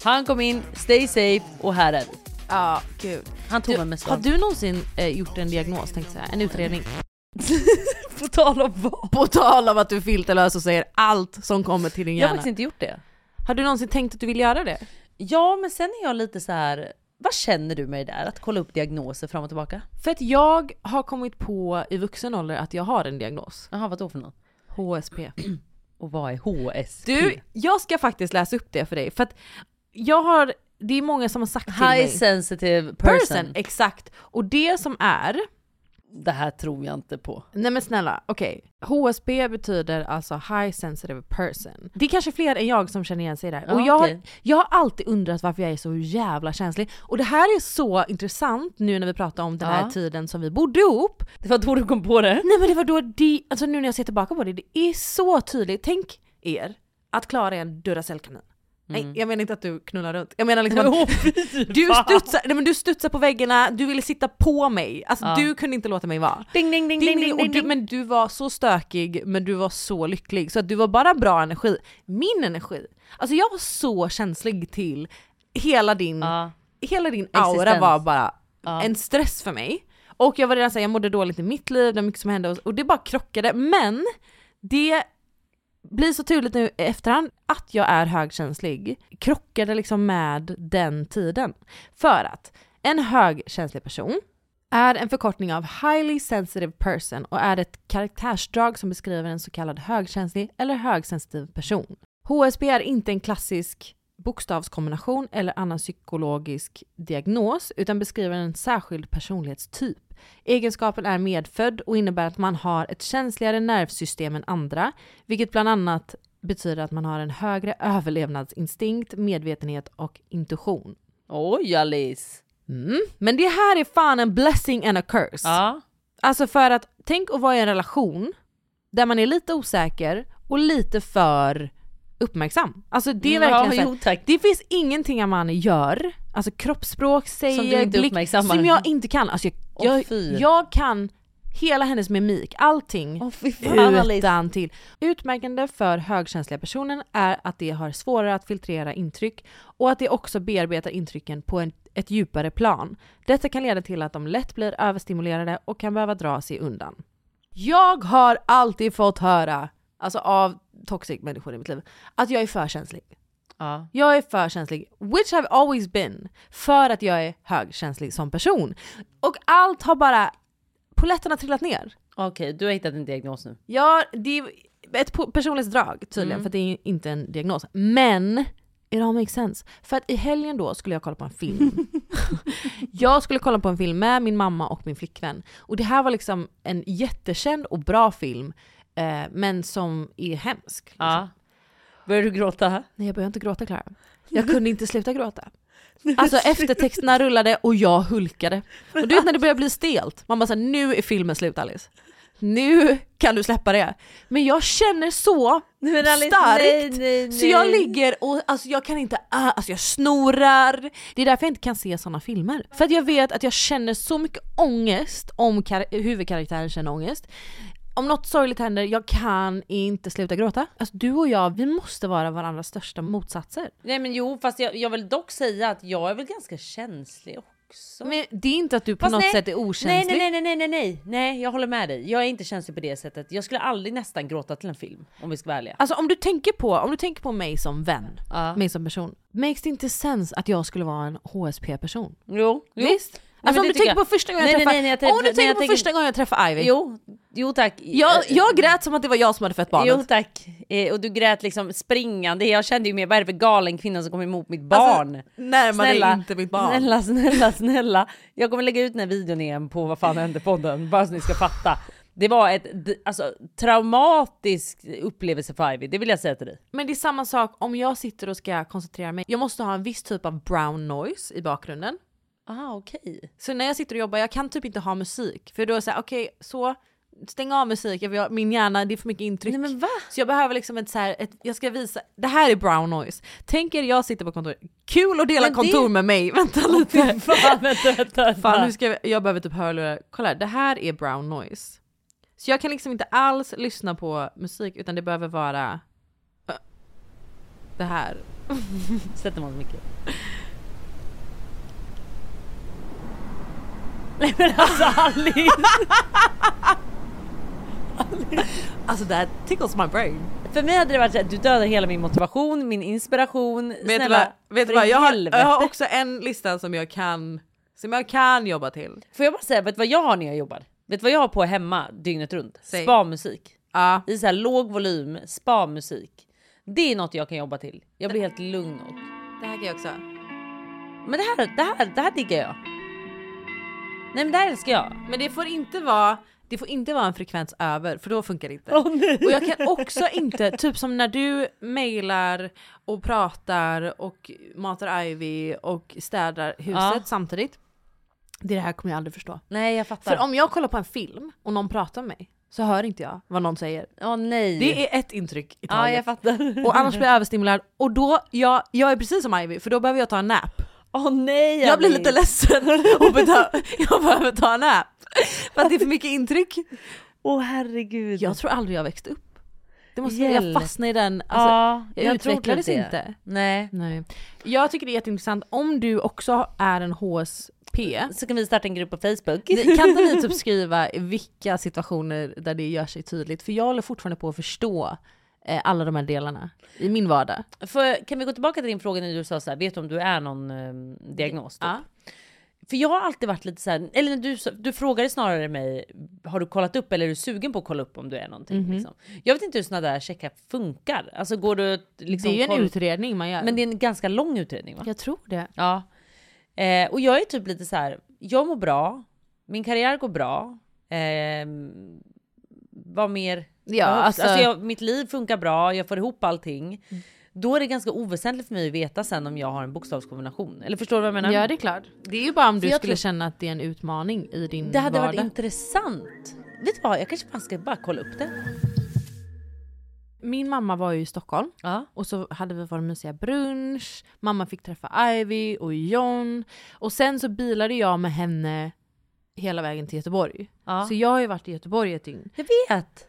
S1: Han kom in, stay safe och här är vi.
S2: Ja, gud.
S1: Han tog mig med storm.
S2: Har du någonsin eh, gjort en diagnos, tänkte jag säga, en utredning?
S1: På tal om vad?
S2: På tal om att du är filterlös och säger allt som kommer till din
S1: Jag har
S2: hjärna.
S1: faktiskt inte gjort det.
S2: Har du någonsin tänkt att du vill göra det?
S1: Ja, men sen är jag lite så här. Vad känner du med det där? Att kolla upp diagnoser fram och tillbaka?
S2: För att jag har kommit på i vuxen ålder att jag har en diagnos.
S1: Jaha, vadå för något?
S2: HSP.
S1: Och vad är HSP?
S2: Du, jag ska faktiskt läsa upp det för dig. För att jag har, det är många som har sagt till mig.
S1: High sensitive person.
S2: Exakt. Och det som är,
S1: Det här tror jag inte på.
S2: nej men snälla, okej. HSP betyder alltså High Sensitive Person. Det är kanske fler än jag som känner igen sig där.
S1: Ja,
S2: och jag,
S1: okej.
S2: jag har alltid undrat varför jag är så jävla känslig. Och det här är så intressant nu när vi pratar om den här
S1: Ja.
S2: tiden som vi bodde ihop.
S1: Det var då du kom på det?
S2: Nej men det var då det, alltså nu när jag ser tillbaka på det, det är så tydligt. Tänk er att Klara är en Duracellkanin.
S1: Mm.
S2: Nej jag menar inte att du knullar runt, jag menar liksom
S1: Åh,
S2: att
S1: fy
S2: du
S1: fan.
S2: studsar, nej, men du studsar på väggarna, du ville sitta på mig. Alltså
S1: Ja.
S2: du kunde inte låta mig vara.
S1: Ding ding ding ding ding
S2: och
S1: ding.
S2: du, men du var så stökig men du var så lycklig så att du var bara bra energi. Min energi, alltså jag var så känslig till hela din, hela din aura
S1: Existens.
S2: var bara
S1: Ja.
S2: en stress för mig. Och jag var redan såhär, jag mådde dåligt i mitt liv, det var mycket som hände och, och det bara krockade. Men det blir så tydligt nu i efterhand att jag är högkänslig krockade liksom med den tiden. För att en högkänslig person är en förkortning av highly sensitive person och är ett karaktärsdrag som beskriver en så kallad högkänslig eller högsensitiv person. HSP är inte en klassisk bokstavskombination eller annan psykologisk diagnos utan beskriver en särskild personlighetstyp. Egenskapen är medfödd och innebär att man har ett känsligare nervsystem än andra, vilket bland annat betyder att man har en högre överlevnadsinstinkt, medvetenhet och intuition.
S1: Oj Alice!
S2: Mm. Men det här är fan en blessing and a curse.
S1: Ja.
S2: Alltså för att tänk att vara i en relation där man är lite osäker och lite för uppmärksam. Alltså det är
S1: Mm, ja,
S2: verkligen så här,
S1: jo, tack.
S2: det finns ingenting man gör, alltså kroppsspråk, säger,
S1: inte
S2: blick,
S1: uppmärksammar.
S2: som jag inte kan. Alltså
S1: Åh,
S2: jag,
S1: fy.
S2: jag, jag kan hela hennes mimik, allting
S1: fan, Alice.
S2: utan till. Utmärkande för högkänsliga personen är att de har svårare att filtrera intryck och att de också bearbetar intrycken på en, ett djupare plan. Detta kan leda till att de lätt blir överstimulerade och kan behöva dra sig undan. Jag har alltid fått höra, alltså av toxic människor i mitt liv, att jag är för känslig.
S1: Ja.
S2: Jag är för känslig, which I've always been, för att jag är högkänslig som person. Och allt har bara, polletten har trillat ner.
S1: Okej, du har hittat en diagnos nu.
S2: Ja, det är ett po- personlighetsdrag tydligen,
S1: Mm.
S2: för att det är inte en diagnos. Men it all makes sense. För att i helgen då skulle jag kolla på en film. jag skulle kolla på en film med min mamma och min flickvän. Och det här var liksom en jättekänd och bra film, eh, men som är hemsk. Liksom.
S1: Ja. Börjar du gråta?
S2: Nej jag började inte gråta Klara. Jag kunde inte sluta gråta. Alltså eftertexterna rullade och jag hulkade. Och du vet när
S1: alltså-
S2: det börjar bli stelt, man bara såhär nu är filmen slut Alice. Nu kan du släppa det. Men jag känner så
S1: men Alice,
S2: starkt
S1: nej, nej,
S2: så jag
S1: nej.
S2: ligger och alltså jag kan inte, ah, alltså jag snorar. Det är därför jag inte kan se sådana filmer. För att jag vet att jag känner så mycket ångest om kar- huvudkaraktären känner ångest. Om något sorgligt händer, jag kan inte sluta gråta. Alltså du och jag, vi måste vara varandras största motsatser.
S1: Nej men jo, fast jag, jag vill dock säga att jag är väl ganska känslig också.
S2: Men det är inte att du på
S1: Fast
S2: något
S1: nej.
S2: sätt är okänslig.
S1: Nej, nej, nej, nej, nej, nej, nej, jag håller med dig. Jag är inte känslig på det sättet. Jag skulle aldrig nästan gråta till en film om vi ska vara ärliga.
S2: Alltså om du tänker på, om du tänker på mig som vän,
S1: Ja.
S2: mig som person. Makes det inte sens att jag skulle vara en HSP-person?
S1: Jo, jo.
S2: Visst?
S1: men
S2: Alltså
S1: det
S2: om du
S1: tycker
S2: tänker
S1: jag.
S2: på första gången
S1: Nej,
S2: jag
S1: nej,
S2: träffar,
S1: nej, när jag tänker-
S2: om du
S1: när
S2: tänker
S1: jag
S2: på
S1: tänker-
S2: första gången jag träffar Ivy.
S1: Jo, jo tack. Eh,
S2: Jag, jag grät som att det var jag som hade fött barnet.
S1: Jo tack. Eh, och du grät liksom springande. Jag kände ju mer, vad är det för galen kvinna som kommer emot mitt
S2: Alltså,
S1: barn?
S2: närmare inte mitt barn.
S1: Snälla, snälla, snälla. Jag kommer lägga ut den här videon igen på Vad fan hände podden? Bara så ni ska fatta. Det var ett d- alltså, traumatisk upplevelse för Ivy, det vill jag säga till dig.
S2: Men det är samma sak om jag sitter och ska koncentrera mig. Jag måste ha en viss typ av brown noise i bakgrunden.
S1: Ah, okej.
S2: Så när jag sitter och jobbar, jag kan typ inte ha musik. För då är det såhär, okej så stäng av musik, jag vill ha- min hjärna, det är för mycket intryck.
S1: Nej men va?
S2: Så jag behöver liksom ett så här, ett, jag ska visa, det här är brown noise. Tänk er jag sitter på kontor, kul att dela
S1: Men det-
S2: kontor med mig, vänta lite.
S1: Fan, vänta, vänta, vänta.
S2: Fan, nu ska jag, jag behöver typ hörlurar. Kolla, här, det här är brown noise. Så jag kan liksom inte alls lyssna på musik utan det behöver vara äh, det här.
S1: Sätter man så mycket. Nej men alltså Alice!
S2: Alltså that tickles my brain.
S1: För mig hade det varit såhär, du dödar hela min motivation, min inspiration.
S2: Vet du
S1: Snälla,
S2: vad, vet du
S1: för
S2: vad jag, har,
S1: helvete.
S2: jag har också en lista som jag kan som jag kan jobba till.
S1: Får jag bara säga, vet du vad jag har när jag jobbar? Vet du vad jag har på hemma dygnet runt?
S2: Säg.
S1: Spa-musik. I så här låg volym, spa-musik. Det är något jag kan jobba till. Jag blir helt lugn och...
S2: Det här kan jag också.
S1: Men det här, det här, det här diggar jag. Nej men det här älskar jag.
S2: Men det får inte vara det får inte vara en frekvens över för då funkar det inte.
S1: Åh, nej.
S2: och jag kan också inte, typ som när du mejlar och pratar och matar Ivy och städar huset
S1: Ja.
S2: samtidigt. Det här kommer jag aldrig förstå.
S1: Nej jag fattar.
S2: För om jag kollar på en film och någon pratar med mig så hör inte jag vad någon säger.
S1: Åh nej.
S2: Det är ett intryck i
S1: Ja,
S2: taget.
S1: jag fattar.
S2: Och annars blir jag överstimulerad och då, jag, jag är precis som Ivy för då behöver jag ta en nap.
S1: Åh nej
S2: Jag blir
S1: Alice.
S2: lite ledsen och behöver- jag behöver ta en nap. För att det är för mycket intryck.
S1: Åh herregud.
S2: Jag tror aldrig jag växte upp. Det måste jag
S1: Hjälp.
S2: fastnade i den, alltså,
S1: Ja,
S2: jag,
S1: jag tror
S2: utvecklades
S1: typ det.
S2: inte.
S1: Nej.
S2: Nej. Jag tycker det är jätteintressant om du också är en HSP.
S1: Så kan vi starta en grupp på Facebook.
S2: Ni- Kan inte ni typ skriva vilka situationer där det gör sig tydligt? För jag håller fortfarande på att förstå eh, alla de här delarna i min vardag.
S1: För, kan vi gå tillbaka till din fråga när du sa så här, vet du om du är någon ehm, diagnos? Typ? För jag har alltid varit lite så här, eller när du, sa- du frågade snarare mig, har du kollat upp eller är du sugen på att kolla upp om du är någonting?
S2: Mhm.
S1: liksom? Jag vet inte hur sådana där checkar funkar. Alltså går du att liksom,
S2: det är ju en
S1: kolla-
S2: utredning man gör.
S1: Men det är en ganska lång utredning va?
S2: Jag tror det.
S1: Ja. Eh, och jag är typ lite så här, jag mår bra, min karriär går bra. ehm, vad mer?
S2: Ja,
S1: behövs?
S2: alltså- Mm.
S1: alltså jag, mitt liv funkar bra, jag får ihop allting. Då är det ganska oväsentligt för mig att veta sen om jag har en bokstavskombination. Eller förstår du vad jag menar?
S2: Ja det är klart. Det är ju bara om
S1: För
S2: du
S1: jag
S2: skulle
S1: tror-
S2: känna att det är en utmaning i din
S1: Det hade
S2: vardag.
S1: varit intressant. Vet du vad, jag kanske fan ska bara kolla upp det.
S2: Min mamma var ju i Stockholm och så hade vi vår mysiga brunch. Mamma fick träffa Ivy och John och sen så bilade jag med henne hela vägen till Göteborg. Så jag har ju varit i Göteborg ett dygn.
S1: Jag vet!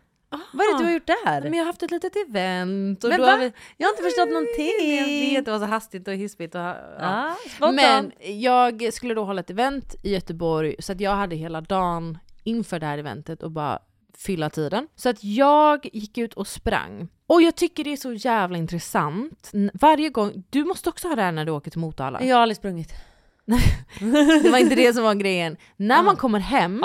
S1: Vad är det du har gjort där?
S2: Men jag har haft ett litet event. Och
S1: Men
S2: då
S1: va?
S2: har vi...
S1: Jag har inte förstått någonting.
S2: Jag vet, det var så hastigt och hispigt. Och, ja.
S1: Ah, spontant.
S2: Men jag skulle då hålla ett event i Göteborg så att jag hade hela dagen inför det här eventet och bara fylla tiden. Så att jag gick ut och sprang. Och jag tycker det är så jävla intressant. N- Varje gång, du måste också ha det här när du åker till Motala.
S1: Jag har aldrig sprungit.
S2: Det var inte det som var grejen. När man kommer hem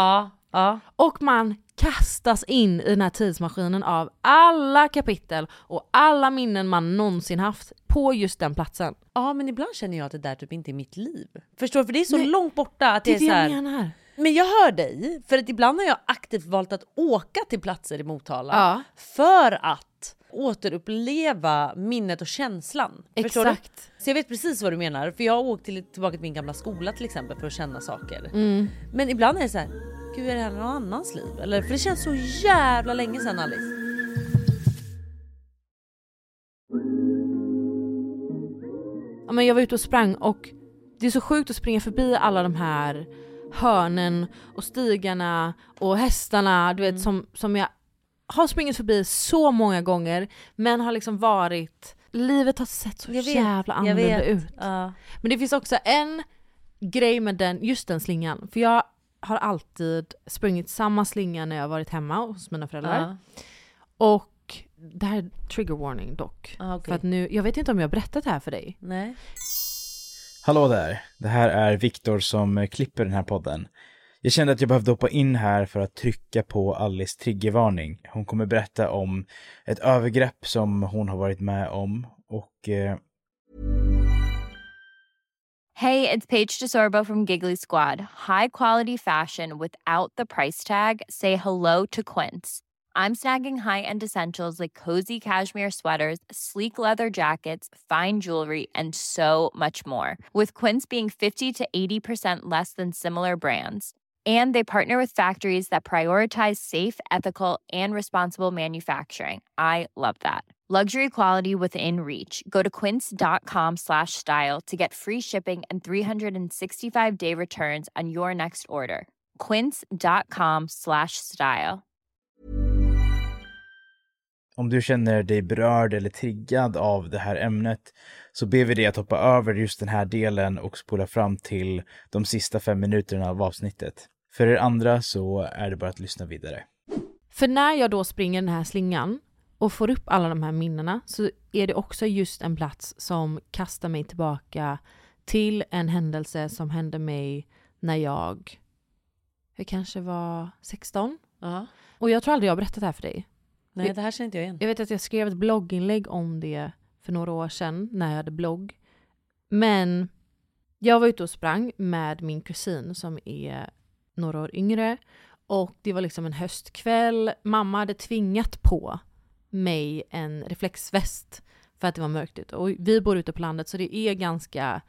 S2: och man kastas in i den här tidsmaskinen av alla kapitel och alla minnen man någonsin haft på just den platsen.
S1: Ja men ibland känner jag att det där typ inte är mitt liv. Förstår du? För det är så långt borta att det,
S2: Det är det
S1: så
S2: jag
S1: här...
S2: menar.
S1: Men jag hör dig, för att ibland har jag aktivt valt att åka till platser i Motala
S2: Ja.
S1: för att återuppleva minnet och känslan. Förstår du?
S2: Exakt.
S1: Så jag vet precis vad du menar, för jag har åkt till, tillbaka till min gamla skola till exempel för att känna saker.
S2: Mm.
S1: Men ibland är det så här, gud är det här någon annans liv? Eller, för det känns så jävla länge sedan Alice.
S2: Ja, men jag var ute och sprang och det är så sjukt att springa förbi alla de här hörnen och stigarna och hästarna du
S1: Mm.
S2: vet som, som jag har sprungit förbi så många gånger men har liksom varit, livet har sett så
S1: Jag vet,
S2: jävla
S1: jag vet.
S2: annorlunda ut.
S1: Ja.
S2: Men det finns också en grej med den, just den slingan, för jag har alltid sprungit samma slinga när jag har varit hemma hos mina föräldrar.
S1: Ja.
S2: Och det här är trigger warning dock.
S1: Ah, okej.
S2: För att nu, jag vet inte om jag har berättat det här för dig.
S1: Nej.
S11: Hallå där! Det här är Viktor som eh, klipper den här podden. Jag kände att jag behövde hoppa in här för att trycka på Alice triggervarning. Hon kommer berätta om ett övergrepp som hon har varit med om och eh,
S6: Hey, it's Paige DeSorbo from Giggly Squad. High quality fashion without the price tag. Say hello to Quince. I'm snagging high-end essentials like cozy cashmere sweaters, sleek leather jackets, fine jewelry, and so much more. With Quince being 50 to 80% less than similar brands. And they partner with factories that prioritize safe, ethical, and responsible manufacturing. I love that. Luxury quality within reach. Go to quince.com slash style to get free shipping and 365 day returns on your next order. Quince.com slash style.
S11: om du känner dig berörd eller triggad av det här ämnet så ber vi dig att hoppa över just den här delen och spola fram till de sista fem minuterna av avsnittet. För er andra så är det bara att lyssna vidare.
S2: För när jag då springer den här slingan och får upp alla de här minnena så är det också just en plats som kastar mig tillbaka till en händelse som hände mig när jag, jag kanske var 16. Och jag tror aldrig jag har berättat det här för dig.
S1: Nej, det här känner inte jag igen.
S2: Jag vet att jag skrev ett blogginlägg om det för några år sedan när jag hade blogg. Men jag var ute och sprang med min kusin som är några år yngre. Och det var liksom en höstkväll. Mamma hade tvingat på mig en reflexväst för att det var mörkt ute. Och vi bor ute på landet så det är ganska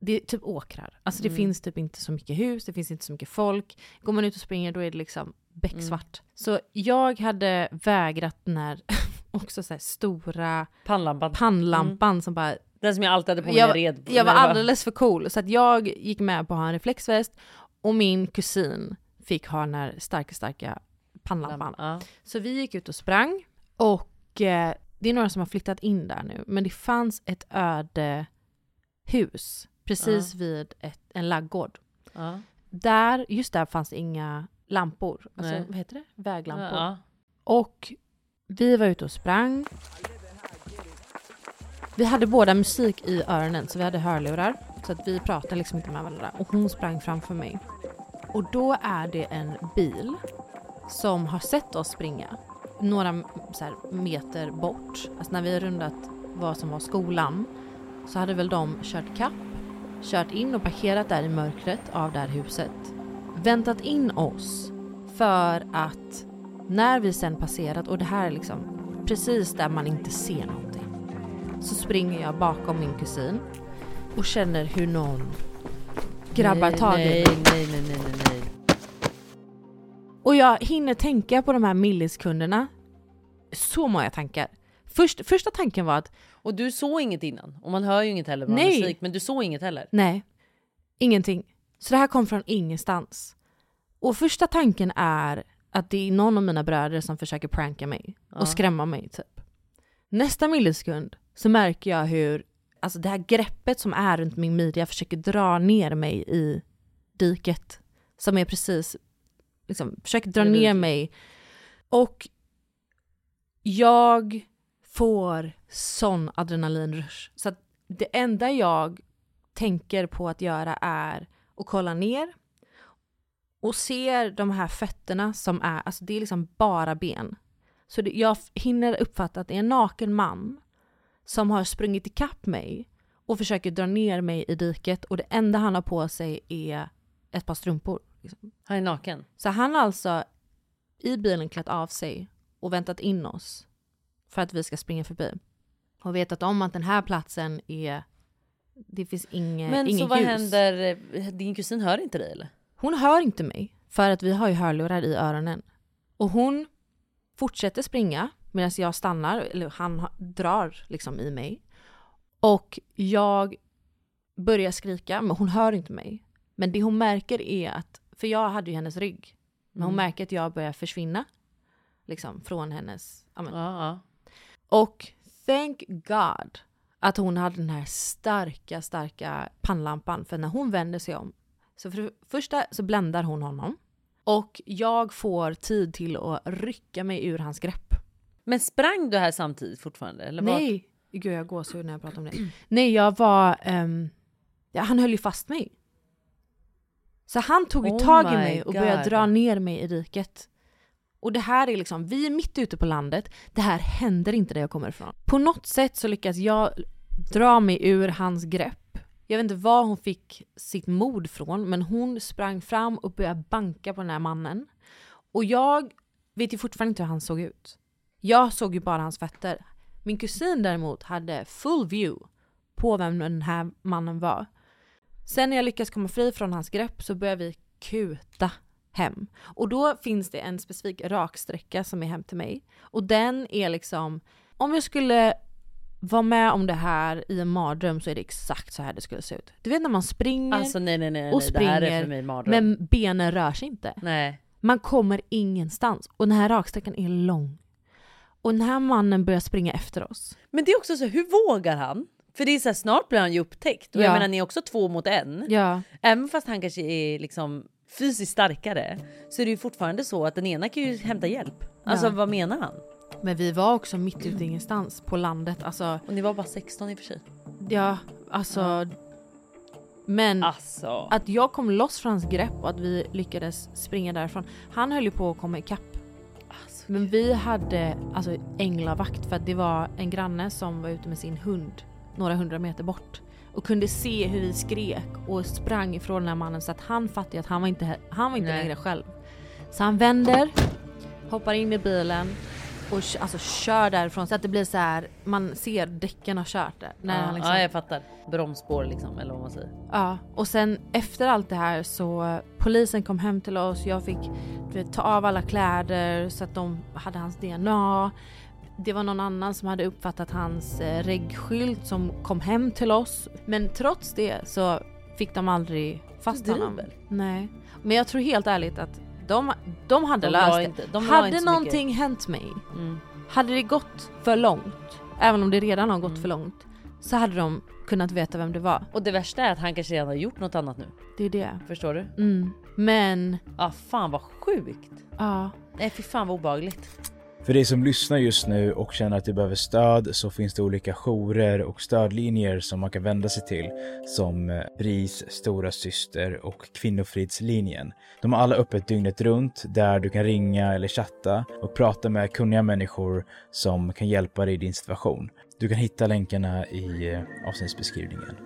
S2: det är typ åkrar. Alltså det
S7: Mm.
S2: finns typ inte så mycket hus, det finns inte så mycket folk. Går man ut och springer då är det liksom becksvart. Så jag hade vägrat den här också så här stora
S1: pannlampan,
S2: pannlampan som bara
S1: Den som jag alltid hade på mig
S2: Mm. jag,
S1: när red.
S2: jag var
S1: när
S2: alldeles för cool så att jag gick med på att ha en reflexväst och min kusin fick ha den här starka, starka pannlampan. Så vi gick ut och sprang och eh, det är några som har flyttat in där nu men det fanns ett öde hus precis
S1: Ja.
S2: vid ett, en laggård.
S1: Ja.
S2: Där, just där fanns det inga lampor. Alltså,
S1: Nej.
S2: vad heter det? Väglampor.
S1: Ja.
S2: Och vi var ute och sprang. Vi hade båda musik i öronen så vi hade hörlurar. Så att vi pratade liksom inte med varandra. Och hon sprang framför mig. Och då är det en bil som har sett oss springa några så här, meter bort. Alltså när vi har rundat vad som var skolan så hade väl de kört kapp, kört in och parkerat där i mörkret av det här huset. Väntat in oss för att när vi sen passerat och det här är liksom precis där man inte ser någonting så springer jag bakom min kusin och känner hur någon grabbar
S1: nej,
S2: tag i
S1: nej,
S2: mig.
S1: nej, nej, nej, nej, nej.
S2: Och jag hinner tänka på de här milliskunderna. Så många tankar. Först, första tanken var att...
S1: Och du såg inget innan? Och man hör ju inget heller med
S2: Nej.
S1: musik, men du såg inget heller?
S2: Nej, ingenting. Så det här kom från ingenstans. Och första tanken är att det är någon av mina bröder som försöker pranka mig
S1: Ja.
S2: och skrämma mig typ. Nästa millisekund så märker jag hur alltså det här greppet som är runt min midja försöker dra ner mig i diket. Som är precis, liksom, försöker dra
S1: Bredvid.
S2: ner mig. Och jag får sån adrenalinrush. Så att det enda jag tänker på att göra är att kolla ner och ser de här fötterna som är, alltså det är liksom bara ben. Så det, jag f- hinner uppfatta att det är en naken man som har sprungit ikapp mig och försöker dra ner mig i diket och det enda han har på sig är ett par strumpor. liksom.
S1: Han är naken?
S2: Så han har alltså i bilen klätt av sig och väntat in oss för att vi ska springa förbi. Och vetat om att den här platsen är... Det finns inget
S1: Men
S2: inget
S1: så vad
S2: ljus.
S1: händer? Eh, Din kusin hör inte dig eller?
S2: Hon hör inte mig för att vi har ju hörlurar i öronen. Och hon fortsätter springa medan jag stannar, eller han ha- drar liksom i mig. Och jag börjar skrika, men hon hör inte mig. Men det hon märker är att, för jag hade ju hennes rygg, men hon
S1: Mm.
S2: märker att jag börjar försvinna. Liksom från hennes, ja, men.
S1: ja.
S2: Och thank God att hon hade den här starka, starka pannlampan. För när hon vänder sig om, så för det första så bländar hon honom. Och jag får tid till att rycka mig ur hans grepp.
S1: Men sprang du här samtidigt fortfarande? Eller var-
S2: Nej! Gud jag går så när jag pratar om det. Nej jag var... ehm, ja, han höll ju fast mig. Så han tog ju
S1: Oh
S2: tag
S1: my
S2: i mig och började
S1: God.
S2: dra ner mig i diket. Och det här är liksom, vi är mitt ute på landet. Det här händer inte där jag kommer ifrån. På något sätt så lyckas jag dra mig ur hans grepp. Jag vet inte var hon fick sitt mod från, men hon sprang fram och började banka på den här mannen. Och jag vet ju fortfarande inte hur han såg ut. Jag såg ju bara hans fötter. Min kusin däremot hade full view på vem den här mannen var. Sen när jag lyckas komma fri från hans grepp så börjar vi kuta hem. Och då finns det en specifik raksträcka som är hem till mig. Och den är liksom, om jag skulle vara med om det här i en mardröm så är det exakt så här det skulle se ut. Du vet när man springer
S1: Alltså nej nej nej, nej.
S2: och
S1: det här är
S2: springer,
S1: för mig mardröm.
S2: men benen rör sig inte.
S1: Nej.
S2: Man kommer ingenstans. Och den här raksträckan är lång. Och den här mannen börjar springa efter oss.
S1: Men det är också så, hur vågar han? För det är så här, snart blir han ju upptäckt. Och
S2: Ja.
S1: jag menar ni är också två mot en.
S2: Ja.
S1: Även fast han kanske är liksom fysiskt starkare så är det ju fortfarande så att den ena kan ju hämta hjälp. Alltså
S2: Ja.
S1: vad menar han?
S2: Men vi var också mitt ute i ingenstans på landet. Alltså,
S1: och ni var bara 16 i och för sig.
S2: Ja, alltså.
S1: Mm.
S2: Men
S1: Alltså.
S2: att jag kom loss från hans grepp och att vi lyckades springa därifrån. Han höll ju på att komma ikapp.
S1: Alltså,
S2: Men vi hade alltså änglavakt för att det var en granne som var ute med sin hund några hundra meter bort och kunde se hur vi skrek och sprang ifrån den här mannen så att han fattade ju att han var inte, han var inte längre själv. Så han vänder, hoppar in i bilen och kö- alltså, kör därifrån så att det blir så här man ser däcken har kört där. När
S1: ja,
S2: han liksom,
S1: ja jag fattar. Bromsspår liksom eller vad man säger.
S2: Ja, och sen efter allt det här så eh, polisen kom hem till oss. Jag fick du vet, ta av alla kläder så att de hade hans DNA. Det var någon annan som hade uppfattat hans eh, reggskylt som kom hem till oss. Men trots det så fick de aldrig fast
S1: Du
S2: honom.
S1: driver.
S2: Nej, men jag tror helt ärligt att de, de hade
S1: De la
S2: löst
S1: inte-
S2: det.
S1: de la
S2: hade
S1: inte så
S2: någonting
S1: mycket. Mm.
S2: hänt mig, hade det gått för långt, även om det redan har gått
S1: Mm.
S2: för långt, så hade de kunnat veta vem det var.
S1: Och det värsta är att han kanske redan har gjort något annat nu.
S2: Det är det.
S1: Förstår du?
S2: Mm. Men...
S1: Ja ah, fan vad sjukt.
S2: Ja.
S1: Nej fy fan vad obehagligt.
S11: För dig som lyssnar just nu och känner att du behöver stöd så finns det olika jourer och stödlinjer som man kan vända sig till som eh, BRIS, Stora Syster och Kvinnofridslinjen. De har alla öppet dygnet runt där du kan ringa eller chatta och prata med kunniga människor som kan hjälpa dig i din situation. Du kan hitta länkarna i eh, avsnittsbeskrivningen.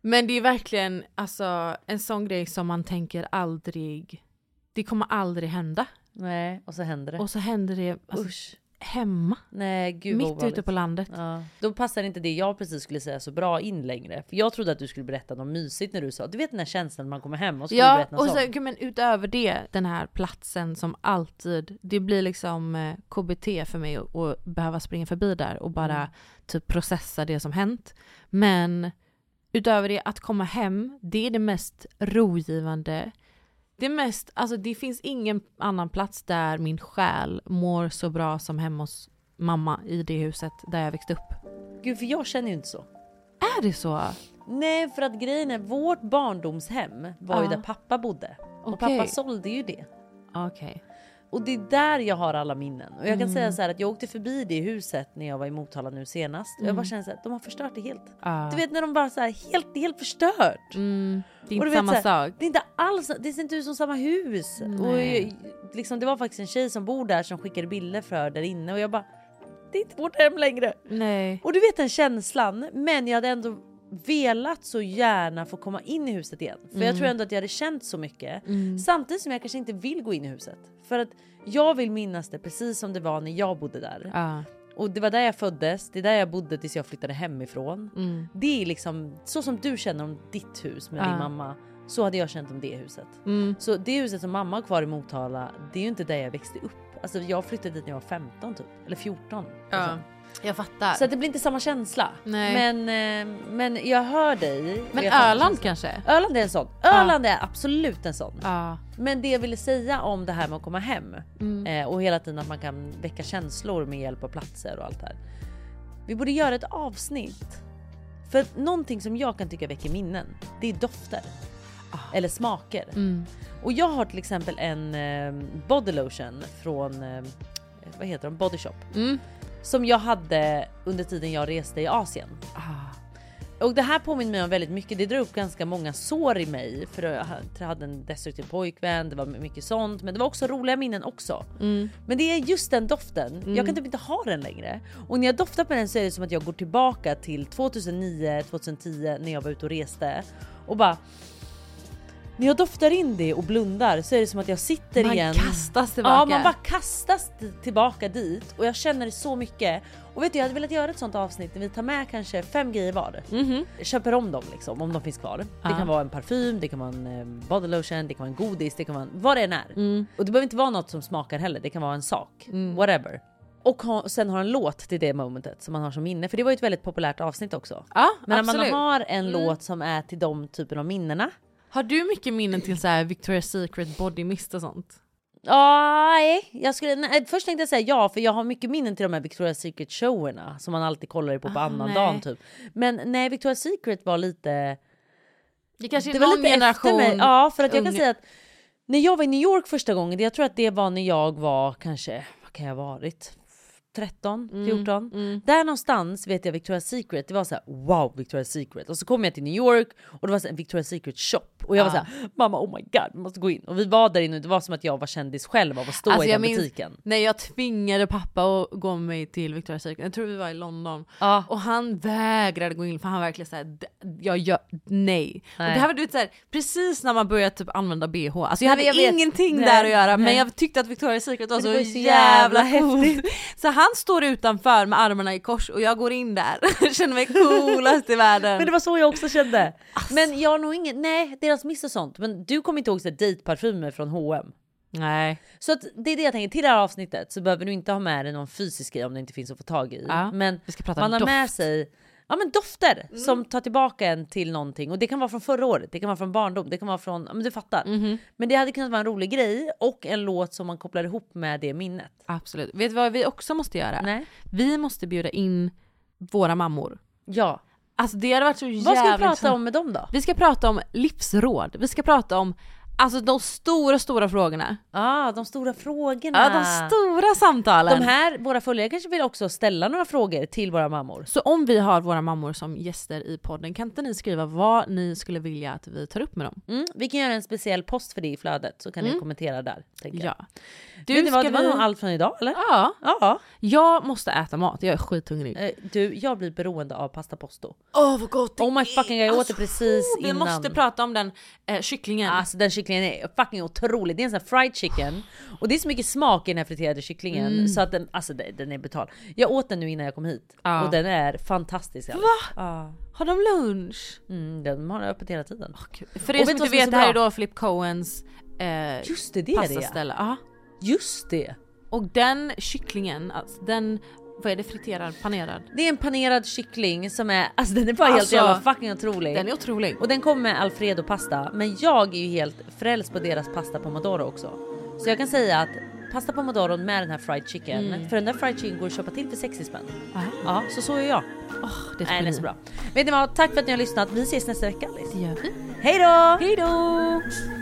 S2: Men det är verkligen alltså, en sån grej som man tänker aldrig... Det kommer aldrig hända.
S1: Nej och så händer det.
S2: Och så händer det alltså,
S1: Usch.
S2: hemma.
S1: Nej gud vad
S2: Mitt ute
S1: obehagligt.
S2: på landet.
S1: Ja. Då passar inte det jag precis skulle säga så bra in längre. För jag trodde att du skulle berätta något mysigt när du sa, du vet den där känslan när man kommer hem och så skulle du
S2: Ja,
S1: berätta
S2: och
S1: något
S2: så,
S1: sånt.
S2: gud, men utöver det, den här platsen som alltid, det blir liksom eh, KBT för mig att- att behöva springa förbi där och bara
S1: Mm.
S2: typ processa det som hänt. Men utöver det, att komma hem, det är det mest rogivande. Det mest, alltså det finns ingen annan plats där min själ mår så bra som hemma hos mamma i det huset där jag växte upp.
S1: Gud för jag känner ju inte så.
S2: Är det så?
S1: Nej för att grejen är vårt barndomshem var ju
S2: Ja.
S1: där pappa bodde. Och
S2: Okej.
S1: pappa sålde ju det.
S2: Okej.
S1: Och det är där jag har alla minnen. Och jag kan
S2: Mm.
S1: säga så här att jag åkte förbi det huset när jag var i Motala nu senast. Och jag
S2: Mm.
S1: bara känner så här, de har förstört det helt.
S2: Ja.
S1: Du vet när de bara så här helt, det är helt förstört.
S2: Det är
S1: Och
S2: inte
S1: du vet
S2: samma
S1: så här,
S2: sak.
S1: Det är inte alls, det ser inte ut som samma hus. Och
S2: Nej.
S1: jag- liksom, det var faktiskt en tjej som bor där som skickade bilder för där inne och jag bara, det är inte vårt hem längre.
S2: Nej.
S1: Och du vet den känslan, men jag hade ändå velat så gärna få komma in i huset igen. För jag
S2: Mm.
S1: tror ändå att jag hade känt så mycket.
S2: Mm.
S1: Samtidigt som jag kanske inte vill gå in i huset. För att jag vill minnas det precis som det var när jag bodde där.
S2: Ja.
S1: Och det var där jag föddes, det är där jag bodde tills jag flyttade hemifrån.
S2: Mm.
S1: Det är liksom så som du känner om ditt hus med
S2: Ja.
S1: din mamma. Så hade jag känt om det huset.
S2: Mm.
S1: Så det huset som mamma har kvar i Motala, det är ju inte där jag växte upp. Alltså jag flyttade dit när jag var 15 typ, eller 14.
S2: Ja. Jag fattar.
S1: Så att det blir inte samma känsla.
S2: Nej.
S1: Men, eh, men jag hör dig.
S2: Men
S1: Jag fattar
S2: Öland
S1: känslan.
S2: kanske?
S1: Öland är en sån. Öland är absolut en sån.
S2: Ja.
S1: Men det jag ville säga om det här med att komma hem
S2: Mm.
S1: eh, och hela tiden att man kan väcka känslor med hjälp av platser och allt det här. Vi borde göra ett avsnitt. För att någonting som jag kan tycka väcker minnen, det är dofter. Eller smaker.
S2: Ah. Mm.
S1: Och jag har till exempel en eh, body lotion från, eh, vad heter de, Body Shop.
S2: Mm.
S1: Som jag hade under tiden jag reste i Asien.
S2: Ah.
S1: Och det här påminner mig om väldigt mycket. Det drar upp ganska många sår i mig. För jag hade en destruktiv pojkvän, det var mycket sånt. Men det var också roliga minnen också.
S2: Mm.
S1: Men det är just den doften. Jag kan typ inte ha den längre. Och när jag doftar på den så är det som att jag går tillbaka till 2009, 2010 när jag var ute och reste. Och bara... När jag doftar in det och blundar så är det som att jag sitter
S2: Man
S1: igen.
S2: kastas tillbaka.
S1: Ja man bara kastas t- tillbaka dit och jag känner det så mycket. Och vet du jag hade velat göra ett sånt avsnitt där vi tar med kanske fem grejer var. Köper om dem liksom om de finns kvar. Det
S2: Mhm. Ja.
S1: kan vara en parfym, det kan vara en eh, body lotion, det kan vara en godis, det kan vara en, vad det än är.
S2: Mm.
S1: Och det behöver inte vara något som smakar heller, det kan vara en sak. Whatever. Och ha, sen har en låt till det momentet som man har som minne. För det var ju ett väldigt populärt avsnitt också.
S2: Ja,
S1: Men när
S2: absolut.
S1: man har en
S2: Mm.
S1: låt som är till de typen av minnena.
S2: Har du mycket minnen till så här Victoria's Secret body mist och sånt?
S1: Ja, Nej, jag skulle, nej, först tänkte jag säga ja för jag har mycket minnen till de här Victoria's Secret showerna som man alltid kollar på på
S2: Ah,
S1: annan
S2: nej.
S1: dagen typ. Men nej, Victoria's Secret var lite...
S2: Det kanske är
S1: var
S2: någon
S1: lite efter
S2: generation
S1: mig. Ja, för att jag kan
S2: unga-
S1: säga att när jag var i New York första gången, jag tror att det var när jag var kanske, vad kan jag ha varit? 13,
S2: Mm,
S1: 14. Där någonstans vet jag Victoria's Secret, det var så här: wow Victoria's Secret. Och så kom jag till New York och det var så här, en Victoria's Secret shop. Och jag var
S2: Ah.
S1: så här, mamma oh my god, vi måste gå in. Och vi var där inne och det var som att jag var kändis själv av att stå
S2: Alltså,
S1: i den butiken.
S2: när jag tvingade pappa att gå med mig till Victoria's Secret, jag tror vi var i London. Och han vägrade gå in för han verkligen såhär, "D- jag gör, nej. Och
S1: Nej.
S2: det här var du vet, såhär, precis när man började typ använda bh, alltså jag
S1: Nej,
S2: hade
S1: men jag vet.
S2: ingenting
S1: Nej,
S2: där att göra men
S1: nej.
S2: jag tyckte att Victoria's Secret var
S1: Men det
S2: så,
S1: var ju så
S2: jävla,
S1: jävla
S2: häftigt. Så han står utanför med armarna i kors och jag går in där, känner mig coolast i världen.
S1: Men det var så jag också kände.
S2: Alltså.
S1: Men jag har nog ingen, nej deras miss och sånt. Men du kommer inte ihåg så här dateparfymer från H&M
S2: Nej.
S1: Så att det är det jag tänker, till det här avsnittet så behöver du inte ha med dig någon fysisk grej om det inte finns att få tag i.
S2: Ja,
S1: men
S2: vi ska prata om
S1: man har med
S2: doft.
S1: sig ja, men dofter som tar tillbaka en till någonting. Och det kan vara från förra året, det kan vara från barndom, det kan vara från, ja, men du fattar. Men det hade kunnat vara en rolig grej och en låt som man kopplar ihop med det minnet.
S2: Absolut. Vet du vad vi också måste göra?
S1: Nej.
S2: Vi måste bjuda in våra mammor.
S1: Ja.
S2: Alltså det hade varit så jävla
S1: Vad ska vi prata
S2: intressant.
S1: om med dem då?
S2: Vi ska prata om livsråd. Vi ska prata om alltså de stora, stora frågorna.
S1: Ah, de stora frågorna.
S2: Ja, de stora samtalen.
S1: De här, våra följare kanske vill också ställa några frågor till våra mammor.
S2: Så om vi har våra mammor som gäster i podden, kan inte ni skriva vad ni skulle vilja att vi tar upp med dem?
S1: Mm, vi kan göra en speciell post för det i flödet så kan
S2: Mm.
S1: ni kommentera där. Tänker
S2: Ja.
S1: jag.
S2: Du,
S1: Du, Vet ni vad,
S2: ska
S1: det var
S2: vi-
S1: nog allt från idag eller?
S2: Ja.
S1: ja.
S2: Jag måste äta mat, jag är skithungrig.
S1: Eh, Du, jag blir beroende av pasta posto.
S2: Åh vad gott Alltså, oh,
S1: Oh my fucking god, jag åt det precis
S2: Vi
S1: innan.
S2: måste prata om den eh, kycklingen.
S1: Alltså den kycklingen är fucking otrolig. Det är en sån här fried chicken. Och det är så mycket smak i den här friterade kycklingen
S2: Mm.
S1: så att den, alltså den, den är brutal. Jag åt den nu innan jag kom hit
S2: Ja.
S1: och den är fantastisk. Va?
S2: Har de lunch?
S1: Mm, den har öppet hela tiden.
S2: För er
S1: Och
S2: som
S1: vet du
S2: inte
S1: vad som är
S2: vet,
S1: så
S2: det här är
S1: bra?
S2: då Flip Coens eh,
S1: Just det, det är det, ja.
S2: pastaställe. Ja.
S1: Just det.
S2: Och den kycklingen, alltså, den, vad är det, friterad, panerad?
S1: Det är en panerad kyckling som är, alltså den är bara
S2: Alltså,
S1: helt jävla fucking otrolig.
S2: den är otrolig.
S1: Och den kommer med alfredopasta, men jag är ju helt frälst på deras pasta pomodoro också. Så jag kan säga att pasta pomodoro med den här fried chicken,
S2: Mm.
S1: för den där fried chicken går att köpa till för 60 spänn.
S2: Aha.
S1: Ja, så så är jag.
S2: Ah, det är typ
S1: Nej,
S2: ett
S1: det är
S2: geni.
S1: så bra. Vet ni vad, tack för att ni har lyssnat. Vi ses nästa vecka Alice.
S2: Det gör vi.
S1: Hej då!
S2: Hej då!